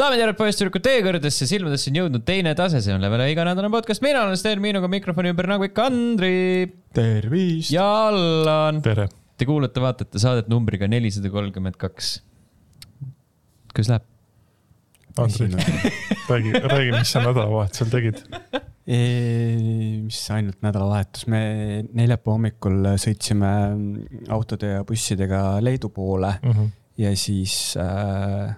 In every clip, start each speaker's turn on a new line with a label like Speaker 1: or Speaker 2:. Speaker 1: daamid ja härrad , poisssüdrukud , teie kõrgedesse silmadesse on jõudnud teine tase , see on Levele iganädalane podcast , mina olen Sten Miinuga mikrofoni ümber nagu ikka Andri
Speaker 2: tervist .
Speaker 1: ja Allan .
Speaker 2: tere .
Speaker 1: Te kuulate , vaatate saadet numbriga nelisada kolmkümmend kaks . kuidas läheb ?
Speaker 2: Andri , räägi , räägi , mis sa nädalavahetusel tegid .
Speaker 3: mis ainult nädalavahetus , me neljapäeva hommikul sõitsime autode ja bussidega Leedu poole
Speaker 2: Mhm.
Speaker 3: ja siis äh,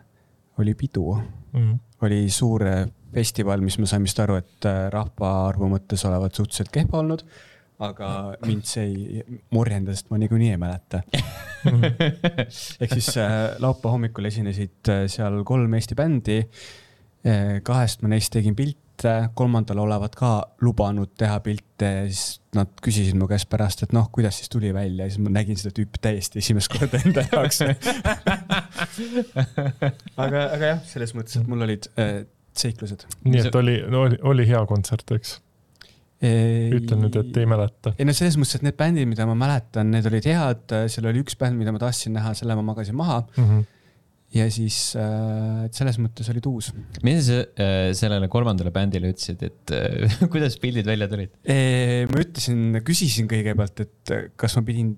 Speaker 3: oli pidu ,
Speaker 2: Mhm.
Speaker 3: oli suur äh, festival , mis me saime vist aru , et äh, rahvaarvu mõttes olevat suhteliselt kehva olnud . aga mind see ei morjenda , sest ma niikuinii ei mäleta . ehk siis äh, laupäeva hommikul esinesid äh, seal kolm Eesti bändi . kahest ma neist tegin pilte , kolmandal olevat ka lubanud teha pilte ja siis nad küsisid mu käest pärast , et noh , kuidas siis tuli välja ja siis ma nägin seda tüüpi täiesti esimest korda enda jaoks . aga , aga jah , selles mõttes , et mul olid äh, seiklused .
Speaker 2: nii et oli , oli , oli hea kontsert , eks ? ütle nüüd , et ei mäleta .
Speaker 3: ei no selles mõttes , et need bändid , mida ma mäletan , need olid head , seal oli üks bänd , mida ma tahtsin näha , selle ma magasin maha
Speaker 2: Mhm.
Speaker 3: ja siis äh, et selles mõttes olid uus .
Speaker 1: mida sa äh, sellele kolmandale bändile ütlesid , et äh, kuidas pildid välja tulid ?
Speaker 3: ma ütlesin , küsisin kõigepealt , et äh, kas ma pidin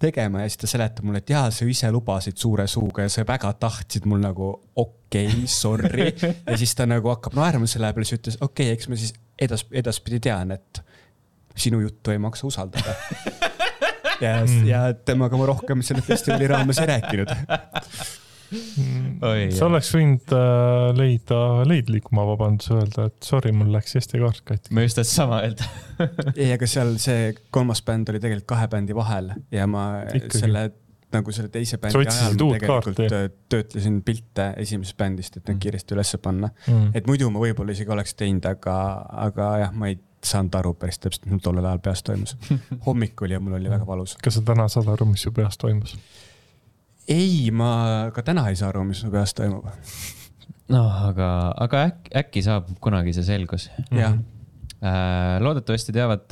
Speaker 3: tegema ja siis ta seletab mulle , et jaa , sa ju ise lubasid suure suuga ja sa väga tahtsid mul nagu okei okay, , sorry . ja siis ta nagu hakkab naerma selle peale , siis ütles okei okay, , eks ma siis edas- , edaspidi tean , et sinu juttu ei maksa usaldada . ja , ja temaga ma rohkem selle festivali raames ei rääkinud .
Speaker 1: Oi,
Speaker 2: sa
Speaker 1: jah.
Speaker 2: oleks võinud äh, leida leidlikuma vabanduse , öelda , et sorry , mul läks Eesti kaart katki .
Speaker 1: ma just tahtsin sama öelda .
Speaker 3: ei , aga seal see kolmas bänd oli tegelikult kahe bändi vahel ja ma
Speaker 2: Ikkagi.
Speaker 3: Ikkagi. selle nagu selle teise
Speaker 2: Sa
Speaker 3: bändi
Speaker 2: otsisid
Speaker 3: ajal ma
Speaker 2: uut
Speaker 3: tegelikult
Speaker 2: kaarti. Mm.
Speaker 3: äh, töötlesin pilte esimesest bändist , et need kiiresti ülesse panna .
Speaker 1: Mhm.
Speaker 3: et muidu ma võib-olla isegi oleks teinud , aga , aga jah , ma ei saanud aru päris täpselt , mis mul tollel ajal peas toimus . hommikul ja mul oli
Speaker 2: Mm.
Speaker 3: väga valus .
Speaker 2: kas sa täna saad aru , mis su peas toimus ?
Speaker 3: ei , ma ka täna ei saa aru , mis mu peas toimub .
Speaker 2: Mhm.
Speaker 1: noh , aga , aga äkki , äkki saabub kunagi see selgus
Speaker 3: jah ,
Speaker 1: äh, . loodetavasti teavad ,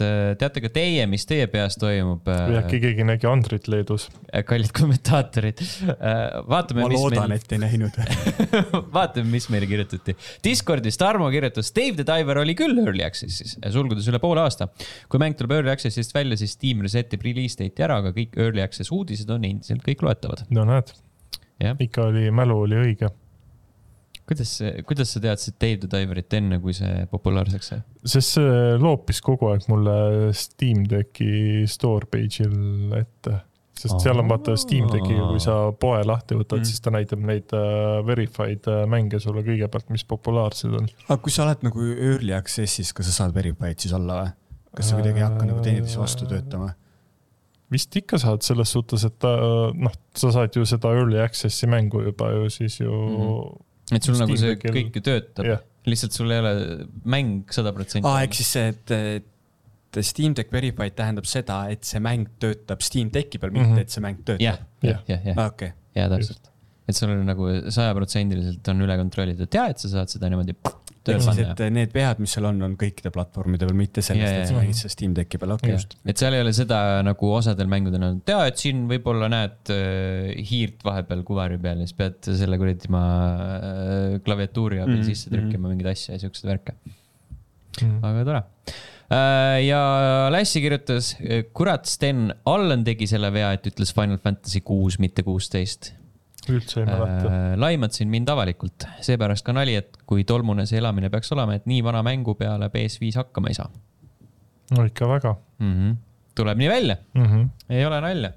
Speaker 1: teate ka teie , mis teie peas toimub
Speaker 2: või
Speaker 1: äh,
Speaker 2: äkki . keegi nägi Andrit Leedus ?
Speaker 1: kallid kommentaatorid äh, , vaatame .
Speaker 3: ma loodan , et ei näinud .
Speaker 1: vaatame , mis meile kirjutati . Discordis Tarmo kirjutas , Dave the Diver oli küll Early Access'is , sulgudes üle poole aasta . kui mäng tuleb Early Access'ist välja , siis Steam reset'ib release date'i ära , aga kõik Early Access uudised on endiselt kõik loetavad .
Speaker 2: no näed ,
Speaker 1: jah ,
Speaker 2: ikka oli , mälu oli õige .
Speaker 1: kuidas , kuidas sa teadsid Dave the Diverit enne , kui see populaarseks sai ?
Speaker 2: sest see loopis kogu aeg mulle Steam Decki store page'il ette . sest seal on vaata Steam Deckiga , kui sa poe lahti võtad
Speaker 1: Mm.
Speaker 2: mm. , siis ta näitab neid äh, verified äh, mänge sulle kõigepealt , mis populaarsed on .
Speaker 3: aga kui sa oled nagu early access'is , kas sa saad verified siis olla või ? kas sa kuidagi ei hakka nagu teineteise vastu töötama ?
Speaker 2: vist ikka saad selles suhtes , et ta noh , sa saad ju seda early access'i mängu juba ju siis ju
Speaker 1: Mhm. et sul
Speaker 2: Steam
Speaker 1: nagu see
Speaker 2: Deckil-
Speaker 1: kõik ju töötab
Speaker 2: jah ,
Speaker 1: lihtsalt sul ei ole mäng sada protsenti .
Speaker 3: aa , ehk siis see , et , et Steam Deck Verified tähendab seda , et see mäng töötab Steam Decki peal , mitte
Speaker 2: Mhm.
Speaker 3: et see mäng töötab .
Speaker 1: jah , jah , jah , jah ,
Speaker 3: okei ,
Speaker 1: jaa , täpselt . et sul on nagu sajaprotsendiliselt on üle kontrollitud ja et sa saad seda niimoodi tööle
Speaker 3: ehk siis ,
Speaker 1: panna .
Speaker 3: et need vead , mis seal on , on kõikide platvormide peal , mitte
Speaker 1: Jaa,
Speaker 3: sellest ,
Speaker 1: jaa,
Speaker 3: et sa
Speaker 2: jaa.
Speaker 3: mängid seda Steam Decki peal , okei
Speaker 1: Jah.
Speaker 3: just .
Speaker 1: et seal ei ole seda nagu osadel mängudel on , tea , et siin võib-olla näed äh, hiirt vahepeal kuvari peal ja siis pead selle kuradi ma äh, klaviatuuri abil mm,
Speaker 3: Mhm,
Speaker 1: sisse
Speaker 3: mhm.
Speaker 1: trükkima mm. mingeid asju ja siukseid värke ,
Speaker 2: mm.
Speaker 1: aga tore . ja Lassi kirjutas , kurat , Sten , Allan tegi selle vea , et ütles Final Fantasy kuus , mitte kuusteist .
Speaker 2: üldse ei mäleta äh, .
Speaker 1: laimatsin mind avalikult , seepärast ka nali , et kui tolmune see elamine peaks olema , et nii vana mängu peale PS5 hakkama ei saa
Speaker 2: no ikka väga
Speaker 1: mm . -hmm. tuleb nii välja
Speaker 2: mm . -hmm.
Speaker 1: ei ole nalja .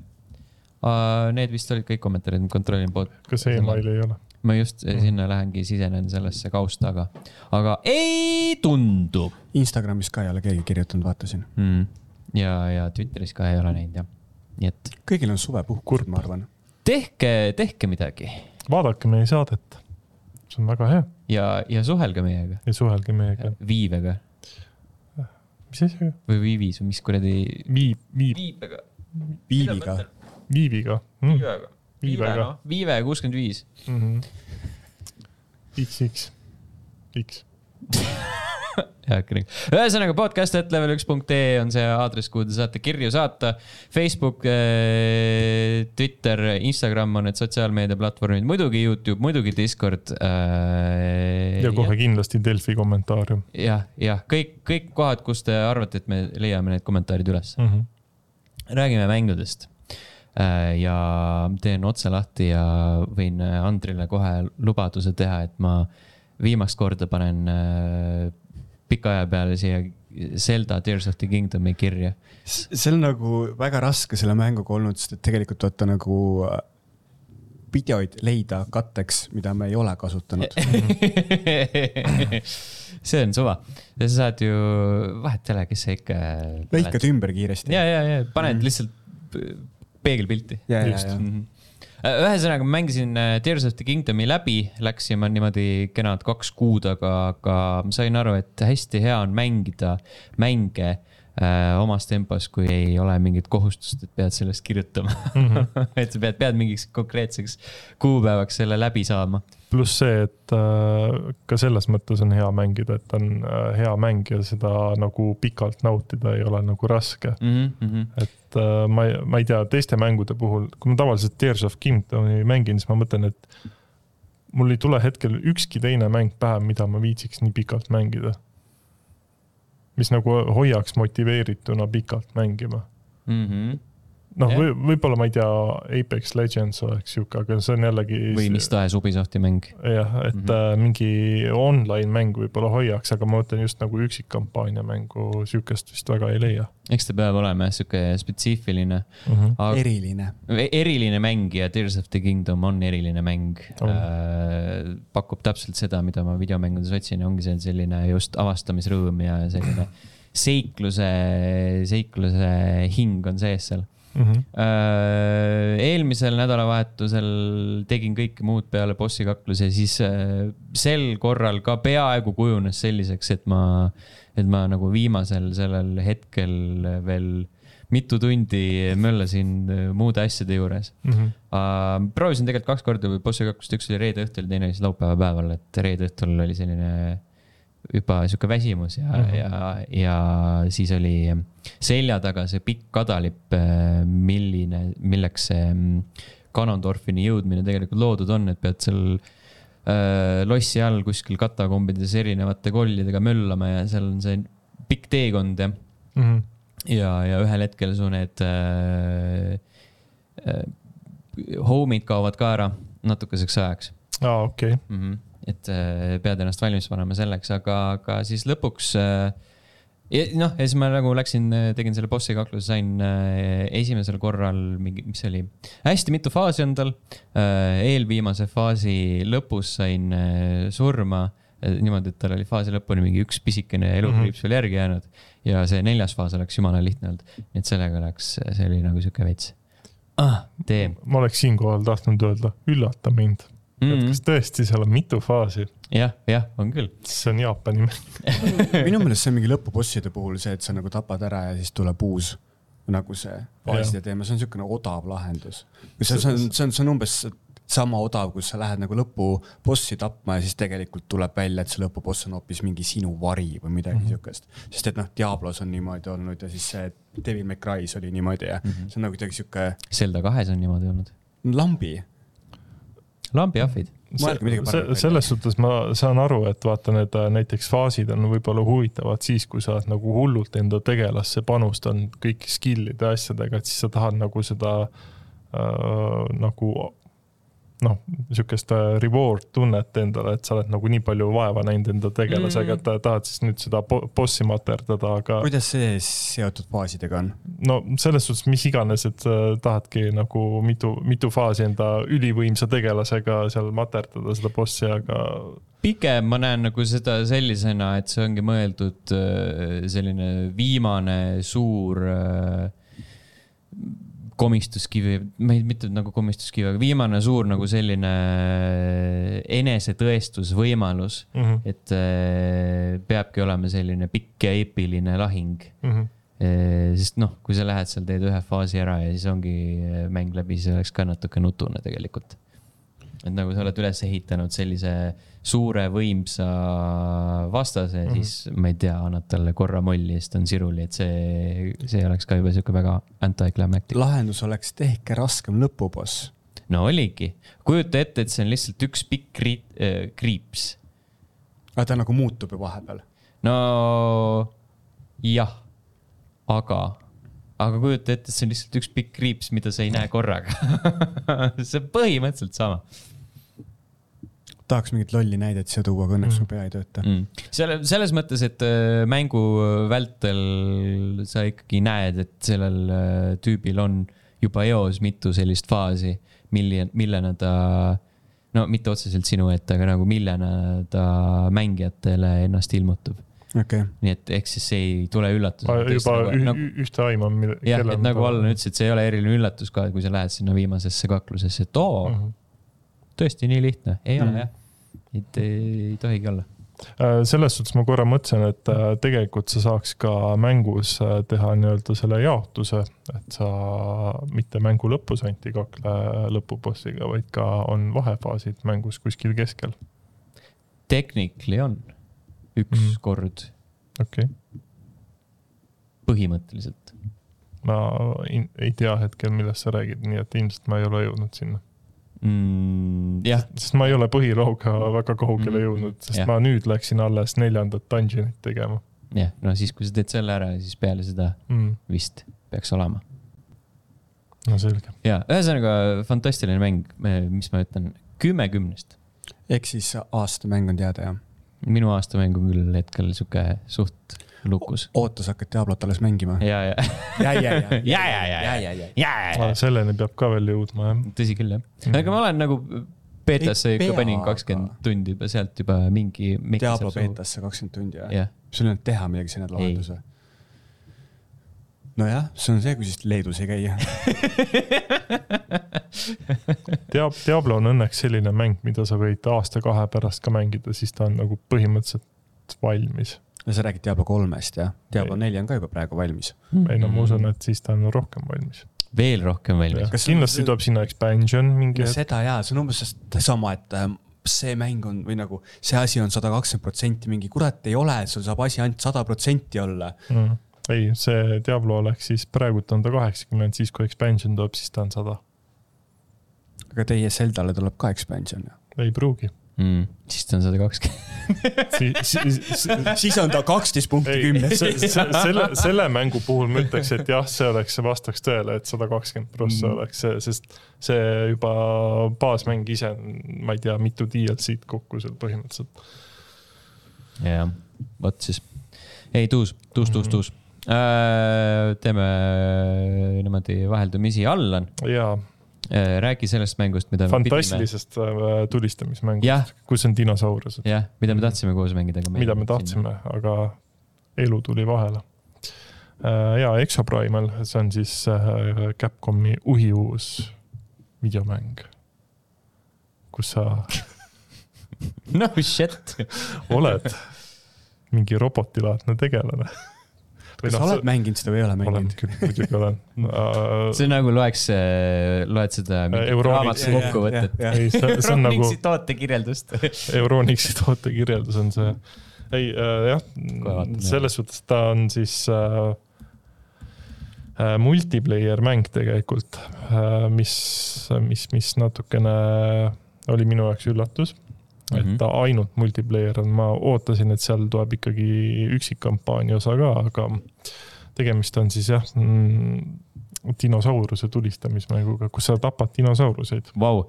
Speaker 1: Need vist olid kõik kommentaarid , ma kontrollin poolt .
Speaker 2: kas emaili ei ole ?
Speaker 1: ma just sinna lähengi , sisenen sellesse kausta , aga , aga ei tundu
Speaker 3: Instagramis ka ei ole keegi kirjutanud , vaatasin .
Speaker 1: mm. . ja , ja Twitteris ka ei ole näinud jah . nii et
Speaker 3: kõigil on suvepuhkus , ma arvan .
Speaker 1: tehke , tehke midagi
Speaker 2: vaadake meie saadet , see on väga hea
Speaker 1: ja , ja suhelge meiega ,
Speaker 2: ja suhelge meiega .
Speaker 1: viivega
Speaker 2: mis asjaga ?
Speaker 1: või viivis või mis kuradi .
Speaker 2: viib , viib ,
Speaker 1: viibega ,
Speaker 3: viiviga .
Speaker 2: viibiga Mhm. mm. .
Speaker 1: viivega ,
Speaker 2: viivega .
Speaker 1: viive kuuskümmend viis .
Speaker 2: mm . -hmm. X , X , X .
Speaker 1: heakene . ühesõnaga podcast.level1.ee e on see aadress , kuhu te saate kirju saata . Facebook , Twitter , Instagram on need sotsiaalmeediaplatvormid , muidugi Youtube , muidugi Discord .
Speaker 2: ja kohe kindlasti Delfi kommentaarium
Speaker 1: jah , jah , kõik , kõik kohad , kus te arvate , et me leiame need kommentaarid üles .
Speaker 2: mm . -hmm.
Speaker 1: räägime mängudest . ja teen otse lahti ja võin äh, Andrile kohe lubaduse teha , et ma viimast korda panen äh, pika aja peale siia Zelda Tears of the Kingdomi kirja .
Speaker 3: see on nagu väga raske selle mänguga olnud , sest et tegelikult vaata nagu videoid leida katteks , mida me ei ole
Speaker 1: E-,
Speaker 3: kasutanud .
Speaker 1: see on suva , sa saad ju , vahet ei ole , kes sa ikka .
Speaker 3: lõikad ümber kiiresti .
Speaker 1: ja , ja , ja paned lihtsalt p- peegelpilti .
Speaker 3: ja , ja ,
Speaker 2: Just.
Speaker 3: ja .
Speaker 1: Mhm. ühesõnaga , ma mängisin äh, Tears of the Kingdomi läbi , läksime niimoodi kenad kaks kuud , aga , aga ma sain aru , et hästi hea on mängida mänge äh, omas tempos , kui ei ole mingit kohustust , et pead sellest kirjutama mm .
Speaker 2: Mhm.
Speaker 1: -hmm. et sa pead , pead mingiks konkreetseks kuupäevaks selle läbi saama .
Speaker 2: pluss see , et äh, ka selles mõttes on hea mängida , et on äh, hea mäng ja seda nagu pikalt nautida ei ole nagu raske .
Speaker 1: Mhm,
Speaker 2: et äh, ma ei , ma ei tea , teiste mängude puhul , kui ma tavaliselt Tears of Kingdomi mängin , siis ma mõtlen , et mul ei tule hetkel ükski teine mäng pähe , mida ma viitsiks nii pikalt mängida . mis nagu hoiaks motiveerituna pikalt mängima . noh
Speaker 1: mhm. Jah.
Speaker 2: yeah. , võib-olla ma ei tea , Apex Legends oleks sihuke , aga see on jällegi .
Speaker 1: või mis tahes Ubisofti mäng .
Speaker 2: jah , et mm
Speaker 1: Mhm.
Speaker 2: -hmm. mingi online mäng võib-olla hoiaks , aga ma mõtlen just nagu üksikkampaania mängu , sihukest vist väga ei leia
Speaker 1: eks ta peab olema jah , sihuke spetsiifiline
Speaker 2: mm . -hmm.
Speaker 1: aga... .
Speaker 3: eriline .
Speaker 1: E-, eriline mäng ja Tears of the Kingdom on eriline mäng
Speaker 2: On.
Speaker 1: oh. . pakub täpselt seda , mida ma videomängudes otsin , ongi see selline just avastamisrõõm ja selline seikluse , seikluse hing on sees seal .
Speaker 2: Mm -hmm.
Speaker 1: Äh, eelmisel nädalavahetusel tegin kõike muud peale bossi kaklusi ja siis äh, sel korral ka peaaegu kujunes selliseks , et ma , et ma nagu viimasel sellel hetkel veel mitu tundi möllasin äh, muude asjade juures .
Speaker 2: Mm -hmm.
Speaker 1: Uh, proovisin tegelikult kaks korda bossi kaklust , üks oli reede õhtul , teine oli siis laupäeva päeval , et reede õhtul oli selline juba sihuke väsimus ja mm ,
Speaker 2: Mhm.
Speaker 1: -hmm. ja , ja siis oli selja taga see pikk kadalipp , milline , milleks see mm, Ganondorfini jõudmine tegelikult loodud on , et pead seal äh, lossi all kuskil katakombides erinevate kollidega möllama ja seal on see pikk teekond ja
Speaker 2: Mm -hmm.
Speaker 1: ja , ja ühel hetkel su need äh, äh, home'id kaovad ka ära natukeseks ajaks
Speaker 2: aa ah, , okei okay.
Speaker 1: mm . -hmm. et äh, pead ennast valmis panema selleks , aga , aga siis lõpuks äh, . noh , ja siis ma nagu läksin , tegin selle bossi kakluse , sain äh, esimesel korral mingi , mis see oli , hästi mitu faasi on tal äh, . eelviimase faasi lõpus sain äh, surma äh, niimoodi , et tal oli faasi lõpuni mingi üks pisikene elukriips mm -hmm. veel järgi jäänud ja see neljas faas oleks jumala lihtne olnud , nii et sellega läks , see oli nagu sihuke veits ah, . tee mm .
Speaker 2: ma oleks siinkohal tahtnud öelda , üllata mind mm , -hmm. et kas
Speaker 1: -hmm.
Speaker 2: tõesti seal on mitu faasi ,
Speaker 1: jah , jah , on küll .
Speaker 2: see on Jaapani mäng .
Speaker 3: minu meelest see on mingi lõpubosside puhul see , et sa nagu tapad ära ja siis tuleb uus nagu see faaside teema , see on niisugune odav lahendus . see see on , see on , see on umbes sama odav , kus sa lähed nagu lõpubossi tapma ja siis tegelikult tuleb välja , et see lõpuboss on hoopis mingi sinu vari või midagi mm -hmm. siukest . sest et noh , Diablos on niimoodi olnud ja siis see Devil May Cry's oli niimoodi ja mm -hmm. see on nagu kuidagi siuke
Speaker 1: Zelda kahes on niimoodi olnud .
Speaker 3: lambi .
Speaker 1: lambiahvid .
Speaker 3: Mõelge midagi paremat välja.
Speaker 2: selles suhtes ma saan aru , et vaata , need äh, näiteks faasid on võib-olla huvitavad siis , kui sa oled nagu hullult enda tegelasse panustanud kõiki skill'ide ja asjadega , et siis sa tahad nagu seda äh, nagu noh , sihukest äh, reward tunnet endale , et sa oled nagu nii palju vaeva näinud enda tegelasega , et äh, tahad siis nüüd seda bo- bossi materdada , aga
Speaker 3: kuidas see seotud faasidega on ?
Speaker 2: no selles suhtes , mis iganes , et sa tahadki nagu mitu , mitu faasi enda ülivõimsa tegelasega seal materdada seda bossi , aga
Speaker 1: pigem ma näen nagu seda sellisena , et see ongi mõeldud äh, selline viimane suur äh, komistuskivi , ma ei , mitte nagu komistuskivi , aga viimane suur nagu selline äh, enesetõestusvõimalus ,
Speaker 2: mm . -hmm.
Speaker 1: et äh, peabki olema selline pikk ja eepiline lahing .
Speaker 2: Mm -hmm.
Speaker 1: sest noh , kui sa lähed äh, seal , teed ühe faasi ära ja siis ongi mäng läbi , see oleks ka natuke nutune tegelikult . et nagu sa oled üles ehitanud sellise suure võimsa vastase mm, -hmm. siis ma ei tea, annad talle korra molli ja siis ta on siruli, et see, see oleks ka juba sihuke väga anti-climactic .
Speaker 3: lahendus oleks tehke raskem lõpuboss .
Speaker 1: no oligi , kujuta ette , et see on lihtsalt üks pikk kriit, äh, kriips .
Speaker 3: aga ta nagu muutub ju vahepeal .
Speaker 1: no jah , aga , aga kujuta ette , et see on lihtsalt üks pikk kriips , mida sa ei näe korraga . see on põhimõtteliselt sama
Speaker 3: tahaks mingit lolli näidet siia tuua , aga õnneks mu pea ei tööta .
Speaker 1: mm. . selle , selles mõttes , et äh, mängu vältel sa ikkagi näed , et sellel äh, tüübil on juba eos mitu sellist faasi , mille , millena ta , no mitte otseselt sinu ette , aga nagu millena ta mängijatele ennast ilmutub .
Speaker 3: okei ,
Speaker 1: nii et ehk siis see ei tule
Speaker 2: ma
Speaker 1: üllatusena .
Speaker 2: juba ü-
Speaker 1: nagu,
Speaker 2: ü- ühte aima .
Speaker 1: jah , et nagu Allan ütles , et see ei ole eriline üllatus ka , kui sa lähed sinna viimasesse kaklusesse , et oo mm , -hmm.
Speaker 2: Mhm.
Speaker 1: tõesti nii lihtne , ei mm -hmm.
Speaker 3: Mhm.
Speaker 1: ole jah . et ei, ei tohigi olla .
Speaker 2: Äh, selles suhtes ma korra mõtlesin , et äh, tegelikult sa saaks ka mängus äh, teha nii-öelda selle jaotuse , et sa mitte mängu lõpus ainult ei kakle lõpubossiga , vaid ka on vahefaasid mängus kuskil keskel .
Speaker 1: Technically on üks mm
Speaker 2: Mhm.
Speaker 1: -hmm. kord
Speaker 2: okei okay. ,
Speaker 1: põhimõtteliselt .
Speaker 2: ma in- ei tea hetkel , millest sa räägid , nii et ilmselt ma ei ole jõudnud sinna .
Speaker 1: Mm, jah ,
Speaker 2: sest ma ei ole põhilooga väga kaugele
Speaker 1: Mhm.
Speaker 2: jõudnud , sest
Speaker 1: Jah.
Speaker 2: ma nüüd läksin alles neljandat dungeonit tegema
Speaker 1: jah , no siis , kui sa teed selle ära , siis peale seda
Speaker 2: mm. .
Speaker 1: vist peaks olema .
Speaker 2: no selge ,
Speaker 1: ja ühesõnaga fantastiline mäng , mis ma ütlen , kümme kümnest .
Speaker 3: ehk siis aastamäng on teada jah ?
Speaker 1: minu aastamäng on küll hetkel sihuke suht lukus .
Speaker 3: oota , sa hakkad Diablot alles mängima ?
Speaker 1: ja , ja ,
Speaker 3: ja , ja , ja
Speaker 1: ja , ja , ja , ja , ja , ja ,
Speaker 2: selleni peab ka veel jõudma jah .
Speaker 1: tõsi küll jah ,
Speaker 2: Mhm.
Speaker 1: aga ma olen nagu beetasse
Speaker 3: Ei
Speaker 1: ikka
Speaker 3: pea,
Speaker 1: panin
Speaker 3: aga-
Speaker 1: kakskümmend tundi juba sealt juba mingi .
Speaker 3: Diablo beetasse kakskümmend tundi või ?
Speaker 1: jah ,
Speaker 3: sul ei olnud teha midagi , sa näed lahenduse . nojah , see on see , kui siis Leedus ei käi .
Speaker 2: Diab- , Diablo on õnneks selline mäng , mida sa võid aasta-kahe pärast ka mängida , siis ta on nagu põhimõtteliselt valmis .
Speaker 3: no sa räägid Diablo kolmest jah ? Diablo
Speaker 2: Ei.
Speaker 3: neli on ka juba praegu valmis .
Speaker 2: ei no
Speaker 1: Mm.
Speaker 2: ma usun , et siis ta on rohkem valmis .
Speaker 1: veel rohkem valmis .
Speaker 3: Kas-
Speaker 2: kindlasti tuleb sinna expansion mingi
Speaker 3: ja
Speaker 2: hetk ,
Speaker 3: seda jaa , see on umbes sest- sama , et ähm, see mäng on või nagu see asi on sada kakskümmend protsenti mingi , kurat ei ole , sul saab asi ainult sada protsenti olla .
Speaker 2: mm. . ei , see Diablo oleks siis , praegult on ta kaheksakümmend , siis kui expansion tuleb , siis ta on sada .
Speaker 3: aga teie Zeldale tuleb ka expansion ju .
Speaker 2: ei pruugi .
Speaker 1: mm. . siis ta on sada kakskümmend .
Speaker 2: Si si si
Speaker 3: siis on ta kaksteist punkti
Speaker 2: ei ,
Speaker 3: kümnes .
Speaker 2: selle , selle mängu puhul ma ütleks , et jah , see oleks , see vastaks tõele , et sada kakskümmend prossa oleks see , sest see juba baasmäng ise on , ma ei tea , mitu DLC-d kokku seal põhimõtteliselt .
Speaker 1: jah , vot siis . ei , tuus , tuus , tuus ,
Speaker 2: Mhm.
Speaker 1: tuus . teeme niimoodi vaheldumisi , Allan ,
Speaker 2: jaa ,
Speaker 1: räägi sellest mängust , mida .
Speaker 2: fantastilisest äh,
Speaker 1: Jah.
Speaker 2: tulistamismängust , kus on dinosaurused ,
Speaker 1: jah , mida me tahtsime koos mängida .
Speaker 2: mida me tahtsime , aga elu tuli vahele . Äh, ja Exoprimal , see on siis äh, Capcomi uhiuus videomäng , kus sa
Speaker 1: no shit .
Speaker 2: oled mingi robotilaadne tegelane .
Speaker 3: kas sa oled mänginud seda või ei ole
Speaker 2: noh, olen
Speaker 3: mänginud ?
Speaker 2: küll , muidugi olen
Speaker 1: see . on nagu loeks , loed
Speaker 2: Äh,
Speaker 1: seda mingit
Speaker 2: Euroopa-
Speaker 1: raamatu kokkuvõtet .
Speaker 2: ei , see see on nagu
Speaker 1: Ronningsi tootekirjeldust .
Speaker 2: Euronixi tootekirjeldus on see . ei äh, jah
Speaker 1: Kohe vaatan, , jah.
Speaker 2: selles suhtes ta on siis äh, äh, multiplayer mäng tegelikult äh, , mis , mis , mis natukene oli minu jaoks üllatus . et
Speaker 1: Mhm.
Speaker 2: ta ainult multiplayer on , ma ootasin , et seal tuleb ikkagi üksikkampaania osa ka , aga tegemist on siis jah mm, dinosauruse tulistamismänguga , kus sa tapad dinosauruseid .
Speaker 1: Vau ,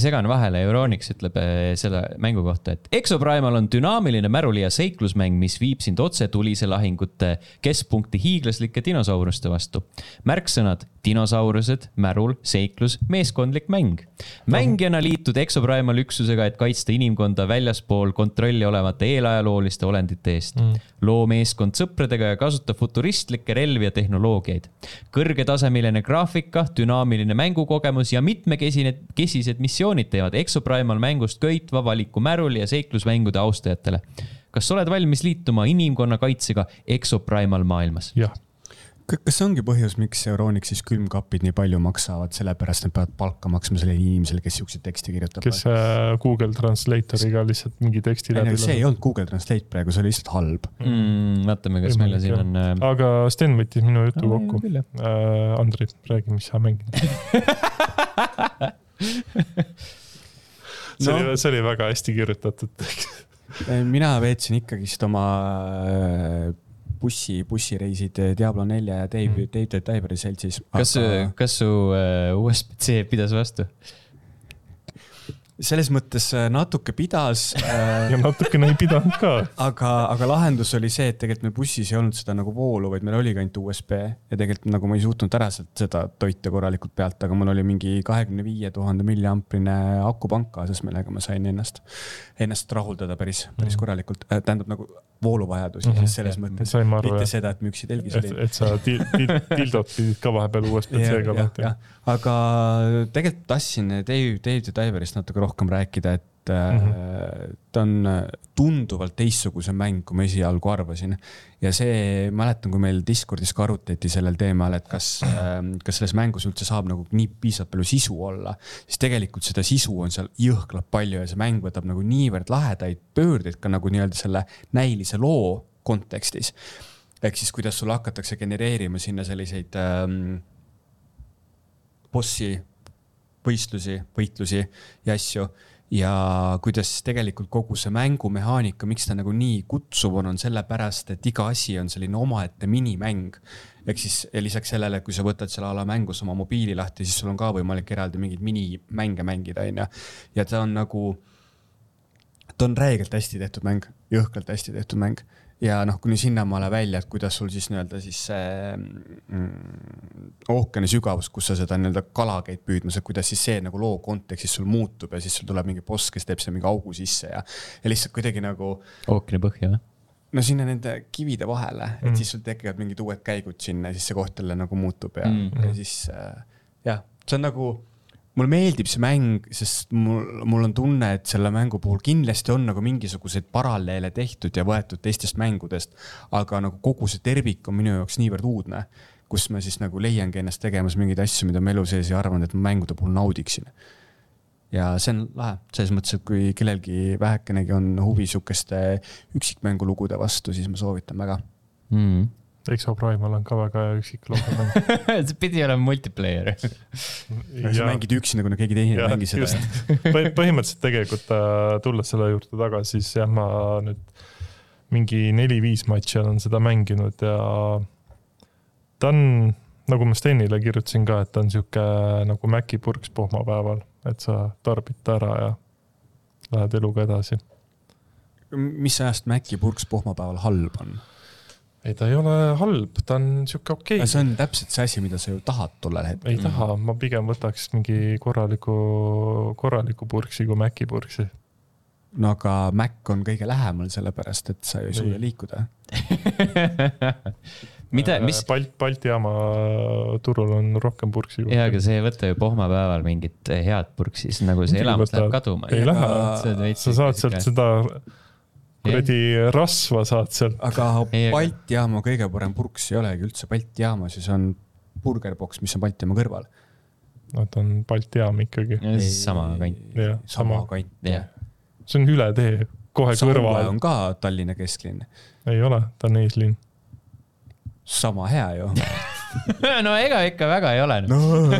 Speaker 1: segan vahele , Euronix ütleb äh, selle mängu kohta , et Exoprimal on dünaamiline märuli ja seiklusmäng , mis viib sind otse tulise lahingute keskpunkti hiiglaslike dinosauruste vastu . märksõnad dinosaurused , märul , seiklus , meeskondlik mäng . mängijana liitud Exoprimal üksusega , et kaitsta inimkonda väljaspool kontrolli olevate eelajalooliste olendite eest mm. . loo meeskond sõpradega ja kasuta futuristlikke relvi ja tehnoloogiaid . kõrgetasemeline graafika , dünaamiline mängukogemus ja mitmekesine , kesised missioonid teevad Exoprimal mängust köitva valiku märuli ja seiklusmängude austajatele . kas sa oled valmis liituma inimkonna kaitsega Exoprimal maailmas ?
Speaker 2: jah ,
Speaker 3: kas see ongi põhjus , miks Euronixis külmkapid nii palju maksavad , sellepärast nad peavad palka maksma sellele inimesele , kes siukseid tekste kirjutab ?
Speaker 2: kes äh, Google Translatoriga lihtsalt mingi teksti
Speaker 3: ei no
Speaker 2: läbi
Speaker 3: see ei olnud Google Translate praegu , see oli lihtsalt halb .
Speaker 1: mm, . vaatame , kas meil siin on äh, .
Speaker 2: aga Sten võttis minu jutu
Speaker 1: Aa,
Speaker 2: kokku Äh,
Speaker 1: küll, jah. .
Speaker 2: Andri , räägi , mis sa mängid . see
Speaker 3: No.
Speaker 2: oli , see oli väga hästi kirjutatud .
Speaker 3: mina veetsin ikkagist oma äh, bussi , bussireisid äh, Diablo nelja ja Dave
Speaker 2: Mm.
Speaker 3: mm. , Dave the Diveri seltsis .
Speaker 1: kas , kas su äh, USB-C pidas vastu ?
Speaker 3: selles mõttes äh, natuke pidas äh,
Speaker 2: ja natukene ei pidanud ka .
Speaker 3: aga , aga lahendus oli see , et tegelikult meil bussis ei olnud seda nagu voolu , vaid meil oligi ainult USB ja tegelikult nagu ma ei suutnud ära sealt seda toita korralikult pealt , aga mul oli mingi kahekümne viie tuhande milliamprine akupank kaasas , millega ma sain ennast , ennast rahuldada päris , päris korralikult , tähendab nagu vooluvajadusi
Speaker 2: Mhm.
Speaker 3: siis selles mõttes ,
Speaker 2: sain ma aru
Speaker 3: mitte , seda , et müksi telgis
Speaker 2: et
Speaker 3: oli ,
Speaker 2: et sa til- til- tildot pidid ka vahepeal USB-C-ga
Speaker 3: jah ,
Speaker 2: lahti
Speaker 3: jah ., aga tegelikult tahtsin Dave , Dave the Diverist natuke rohkem rääkida , et mm -hmm. ta on tunduvalt teistsugusem mäng , kui ma esialgu arvasin . ja see , mäletan , kui meil Discordis ka arutleti sellel teemal , et kas , kas selles mängus üldse saab nagu nii piisavalt palju sisu olla , siis tegelikult seda sisu on seal jõhkralt palju ja see mäng võtab nagu niivõrd lahedaid pöördeid ka nagu nii-öelda selle näilise loo kontekstis ehk siis , kuidas sul hakatakse genereerima sinna selliseid ähm, bossi võistlusi , võitlusi ja asju ja kuidas tegelikult kogu see mängumehaanika , miks ta nagu nii kutsuv on , on sellepärast , et iga asi on selline omaette minimäng . ehk siis ja lisaks sellele , kui sa võtad selle ala mängus oma mobiili lahti , siis sul on ka võimalik eraldi mingeid minimänge mängida , onju . ja ta on nagu ta on räigelt hästi tehtud mäng , jõhkralt hästi tehtud mäng ja noh , kuni sinnamaale välja , et kuidas sul siis nii-öelda siis see mm, ookeani sügavus , kus sa seda nii-öelda kala käid püüdmas , et kuidas siis see nagu loo kontekstis sul muutub ja siis sul tuleb mingi boss , kes teeb seal mingi augu sisse ja , ja lihtsalt kuidagi nagu
Speaker 1: ookeani põhja või ?
Speaker 3: no sinna nende kivide vahele , et
Speaker 2: Mm.
Speaker 3: mm. siis sul tekivad mingid uued käigud sinna ja siis see koht jälle nagu muutub ja
Speaker 1: Mm.
Speaker 3: mm. , ja siis äh, jah , see on nagu , mulle meeldib see mäng , sest mul , mul on tunne , et selle mängu puhul kindlasti on nagu mingisuguseid paralleele tehtud ja võetud teistest mängudest , aga nagu kogu see tervik on minu jaoks niivõrd uudne , kus ma siis nagu leiangi ennast tegemas mingeid asju , mida ma elu sees ei arvanud , et ma mängude puhul naudiksin ja see on lahe , selles mõttes , et kui kellelgi vähekenegi on huvi sihukeste üksikmängulugude vastu , siis ma soovitan väga .
Speaker 1: Mm.
Speaker 2: Exo Primal on ka väga hea üksik loodamäng .
Speaker 1: see pidi olema multiplayer .
Speaker 3: sa mängid üksinda , kuna keegi teine ei mängi seda .
Speaker 2: põhimõtteliselt tegelikult äh, tulles selle juurde tagasi , siis jah , ma nüüd mingi neli-viis matši olen seda mänginud ja ta on , nagu ma Stenile kirjutasin ka , et ta on sihuke nagu mäkipurks pohmapäeval , et sa tarbid ta ära ja lähed eluga edasi .
Speaker 3: mis ajast Maci purks pohmapäeval halb on ?
Speaker 2: ei , ta ei ole halb , ta on sihuke okei okay.
Speaker 3: see on täpselt see asi , mida sa ju tahad tollel hetkel .
Speaker 2: ei taha , ma pigem võtaks mingi korraliku , korraliku purksi kui mäkipurksi .
Speaker 3: no aga Mac on kõige lähemal , sellepärast et sa ju ei suuda liikuda .
Speaker 1: mida , mis ,
Speaker 2: Äh, Balt- , Balti jaama turul on rohkem purksi .
Speaker 1: jaa , aga see ei võta ju pohmapäeval mingit eh, head purksi , siis nagu see
Speaker 2: Muidugi
Speaker 1: elamus
Speaker 2: võtab.
Speaker 1: läheb kaduma .
Speaker 2: Ei lähe. sa saad sealt seda kuradi rasva saad sealt .
Speaker 3: aga
Speaker 1: Ei, aga-
Speaker 3: Balti jaama kõige parem purks ei olegi üldse Balti jaama , siis on Burger Box , mis on Balti jaama kõrval .
Speaker 2: no ta on Balti jaam ikkagi ,
Speaker 1: sama kant ..
Speaker 2: Jah,
Speaker 3: sama
Speaker 2: sama.
Speaker 3: kant ,
Speaker 1: Jah.
Speaker 3: jah .
Speaker 2: see on üle tee , kohe
Speaker 3: Saue
Speaker 2: kõrval
Speaker 3: on . ka Tallinna kesklinn ,
Speaker 2: ei ole , ta on eeslinn .
Speaker 3: sama hea ju .
Speaker 1: no ega ikka väga ei ole . noh.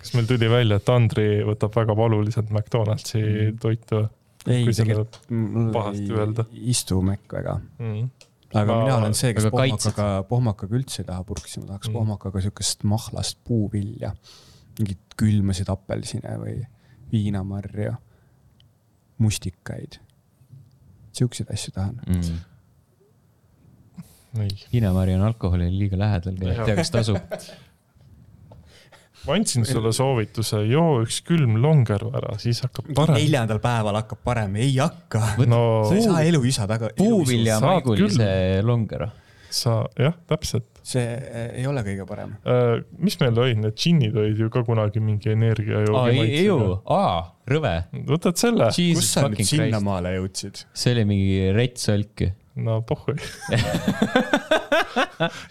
Speaker 2: kas meil tuli välja , et Andri võtab väga valuliselt McDonaldsi toitu
Speaker 3: ei
Speaker 2: Kui , selle
Speaker 3: tegelikult mul
Speaker 2: pahasti öelda.
Speaker 3: ei istu Mac väga .
Speaker 2: mm. ?
Speaker 3: aga
Speaker 2: Ma-
Speaker 3: mina olen see , kes
Speaker 1: aga kaitsed?
Speaker 3: pohmakaga , pohmakaga üldse ei taha purksi , ma tahaks
Speaker 2: Mm.
Speaker 3: mm. pohmakaga siukest mahlast puuvilja . mingit külmasid apelsine või viinamarju , mustikaid . Siukseid asju tahan .
Speaker 2: ei ,
Speaker 1: Hiinamari Mm. on alkoholile liiga lähedal , ei tea , kas tasub .
Speaker 2: ma andsin sulle soovituse , joo üks külm longeru ära , siis hakkab parem .
Speaker 3: neljandal päeval hakkab parem , ei hakka .
Speaker 2: no
Speaker 3: sa ei saa elu isa taga .
Speaker 1: puuvilja eh,
Speaker 2: Saad
Speaker 1: maigulise longer .
Speaker 2: sa , jah , täpselt .
Speaker 3: see eh, ei ole kõige parem .
Speaker 2: mis meil olid , need džinnid olid ju ka kunagi mingi
Speaker 1: ai ,
Speaker 2: energiajoogi .
Speaker 1: ju , aa , rõve .
Speaker 2: võtad selle ,
Speaker 3: kus sa nüüd sinnamaale jõudsid ?
Speaker 1: see oli mingi rets solk ju .
Speaker 2: no pohhui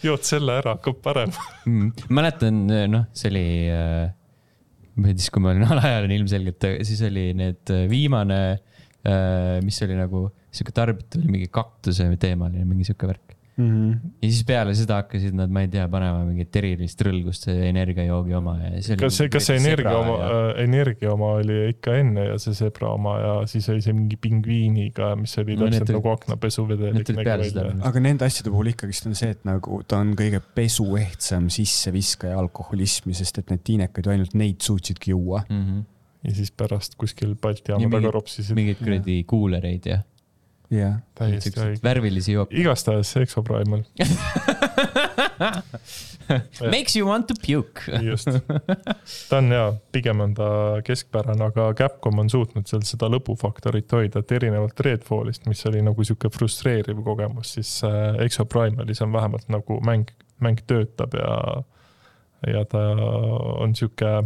Speaker 2: jood selle ära , hakkab parem .
Speaker 1: mm. . mäletan , noh , see oli , ma ei tea , siis kui ma olin alaealine ilmselgelt , siis oli need äh, viimane , mis oli nagu sihuke tarbitav , mingi kaktuse teemaline mingi sihuke värk .
Speaker 3: Mhm.
Speaker 1: ja siis peale seda hakkasid nad , ma ei tea , panema mingit erilist rõlgust see energiajoogi oma ja siis oli .
Speaker 2: kas see , kas see energia oma , äh, energia oma oli ikka enne ja see zebra oma ja siis oli see mingi pingviiniga , mis oli
Speaker 1: No need
Speaker 2: täpselt
Speaker 1: tulid-
Speaker 2: nagu aknapesuvedelik
Speaker 1: need tulid
Speaker 2: nägi
Speaker 1: peale seda
Speaker 2: välja .
Speaker 3: aga nende asjade puhul ikkagist on see , et nagu ta on kõige pesuehtsam sisseviskaja alkoholismi , sest et need tiinekaid ju ainult neid suutsidki juua .
Speaker 1: mm . -hmm.
Speaker 2: ja siis pärast kuskil Balti
Speaker 1: Ja
Speaker 2: jaama
Speaker 1: mingid-
Speaker 2: taga ropsisid
Speaker 1: mingeid kuradi kuulereid ja
Speaker 3: jah ,
Speaker 2: täiesti õige .
Speaker 1: värvilisi jooke .
Speaker 2: igastahes Exo Primal ,
Speaker 1: Makes you want to puke .
Speaker 2: just . ta on jaa , pigem on ta keskpärane , aga Capcom on suutnud seal seda lõbufaktorit hoida , et erinevalt Redfallist , mis oli nagu sihuke frustreeriv kogemus , siis äh, Exo Primalis on vähemalt nagu mäng , mäng töötab ja , ja ta on sihuke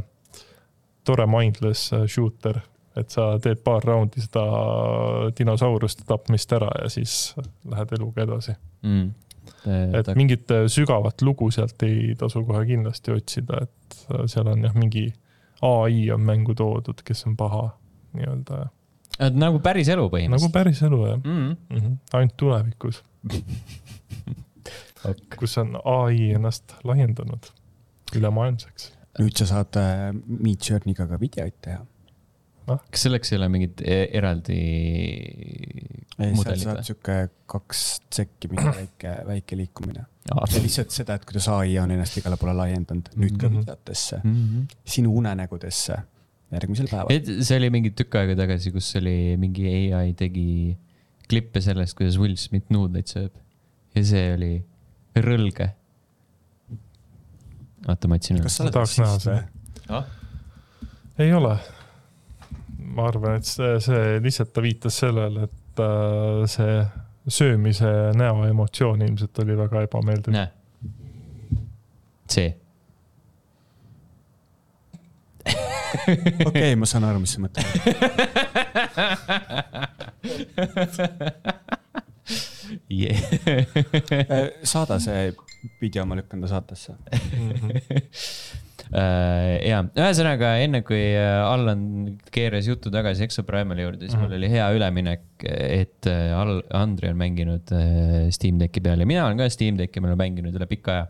Speaker 2: tore mindless äh, shooter et sa teed paar raundi seda dinosauruste tapmist ära ja siis lähed eluga edasi .
Speaker 1: Mm.
Speaker 2: et
Speaker 1: Ta,
Speaker 2: mingit äh, sügavat lugu sealt ei tasu kohe kindlasti otsida , et äh, seal on jah , mingi ai on mängu toodud , kes on paha nii-öelda ,
Speaker 1: et nagu päris elu
Speaker 2: nagu
Speaker 1: põhimõtteliselt .
Speaker 2: päris elu jah
Speaker 1: Mm.
Speaker 2: mm , -hmm. ainult tulevikus ,
Speaker 1: Ok.
Speaker 2: kus on ai ennast laiendanud ülemaailmseks .
Speaker 3: nüüd sa saad äh, Meet Journey'ga ka videoid teha .
Speaker 1: kas selleks ei ole mingit e- eraldi
Speaker 3: seal
Speaker 1: mudelit
Speaker 3: saad
Speaker 1: või ?
Speaker 3: sihuke kaks tsekki mingi väike , väike liikumine . ja lihtsalt seda , et kuidas ai on ennast igale poole laiendanud , nüüd ka
Speaker 2: Mhm.
Speaker 3: videotesse , sinu unenägudesse järgmisel päeval .
Speaker 1: et see oli mingi tükk aega tagasi , kus oli mingi ai tegi klippe sellest , kuidas Will Smith nuudleid sööb . ja see oli rõlge . oota , ma otsin
Speaker 3: kas sa oled
Speaker 2: Tahaks näha
Speaker 3: rassist või
Speaker 2: seda. ? ei ole . ma arvan , et see, see lihtsalt ta viitas sellele , et äh, see söömise näo emotsioon ilmselt oli väga ebameeldiv .
Speaker 1: näe . see .
Speaker 3: okei , ma saan aru , mis sa mõtled .
Speaker 1: Yeah.
Speaker 3: Äh, saada see video , ma lükkan ta saatesse .
Speaker 1: Mm-hmm. Äh, ja , ühesõnaga enne kui äh, Allan keeras jutu tagasi Exo Primali juurde , siis mul oli hea üleminek , et äh, Al- , Andri on mänginud äh, Steam Decki peal ja mina olen ka Steam Decki peal mänginud üle pika aja .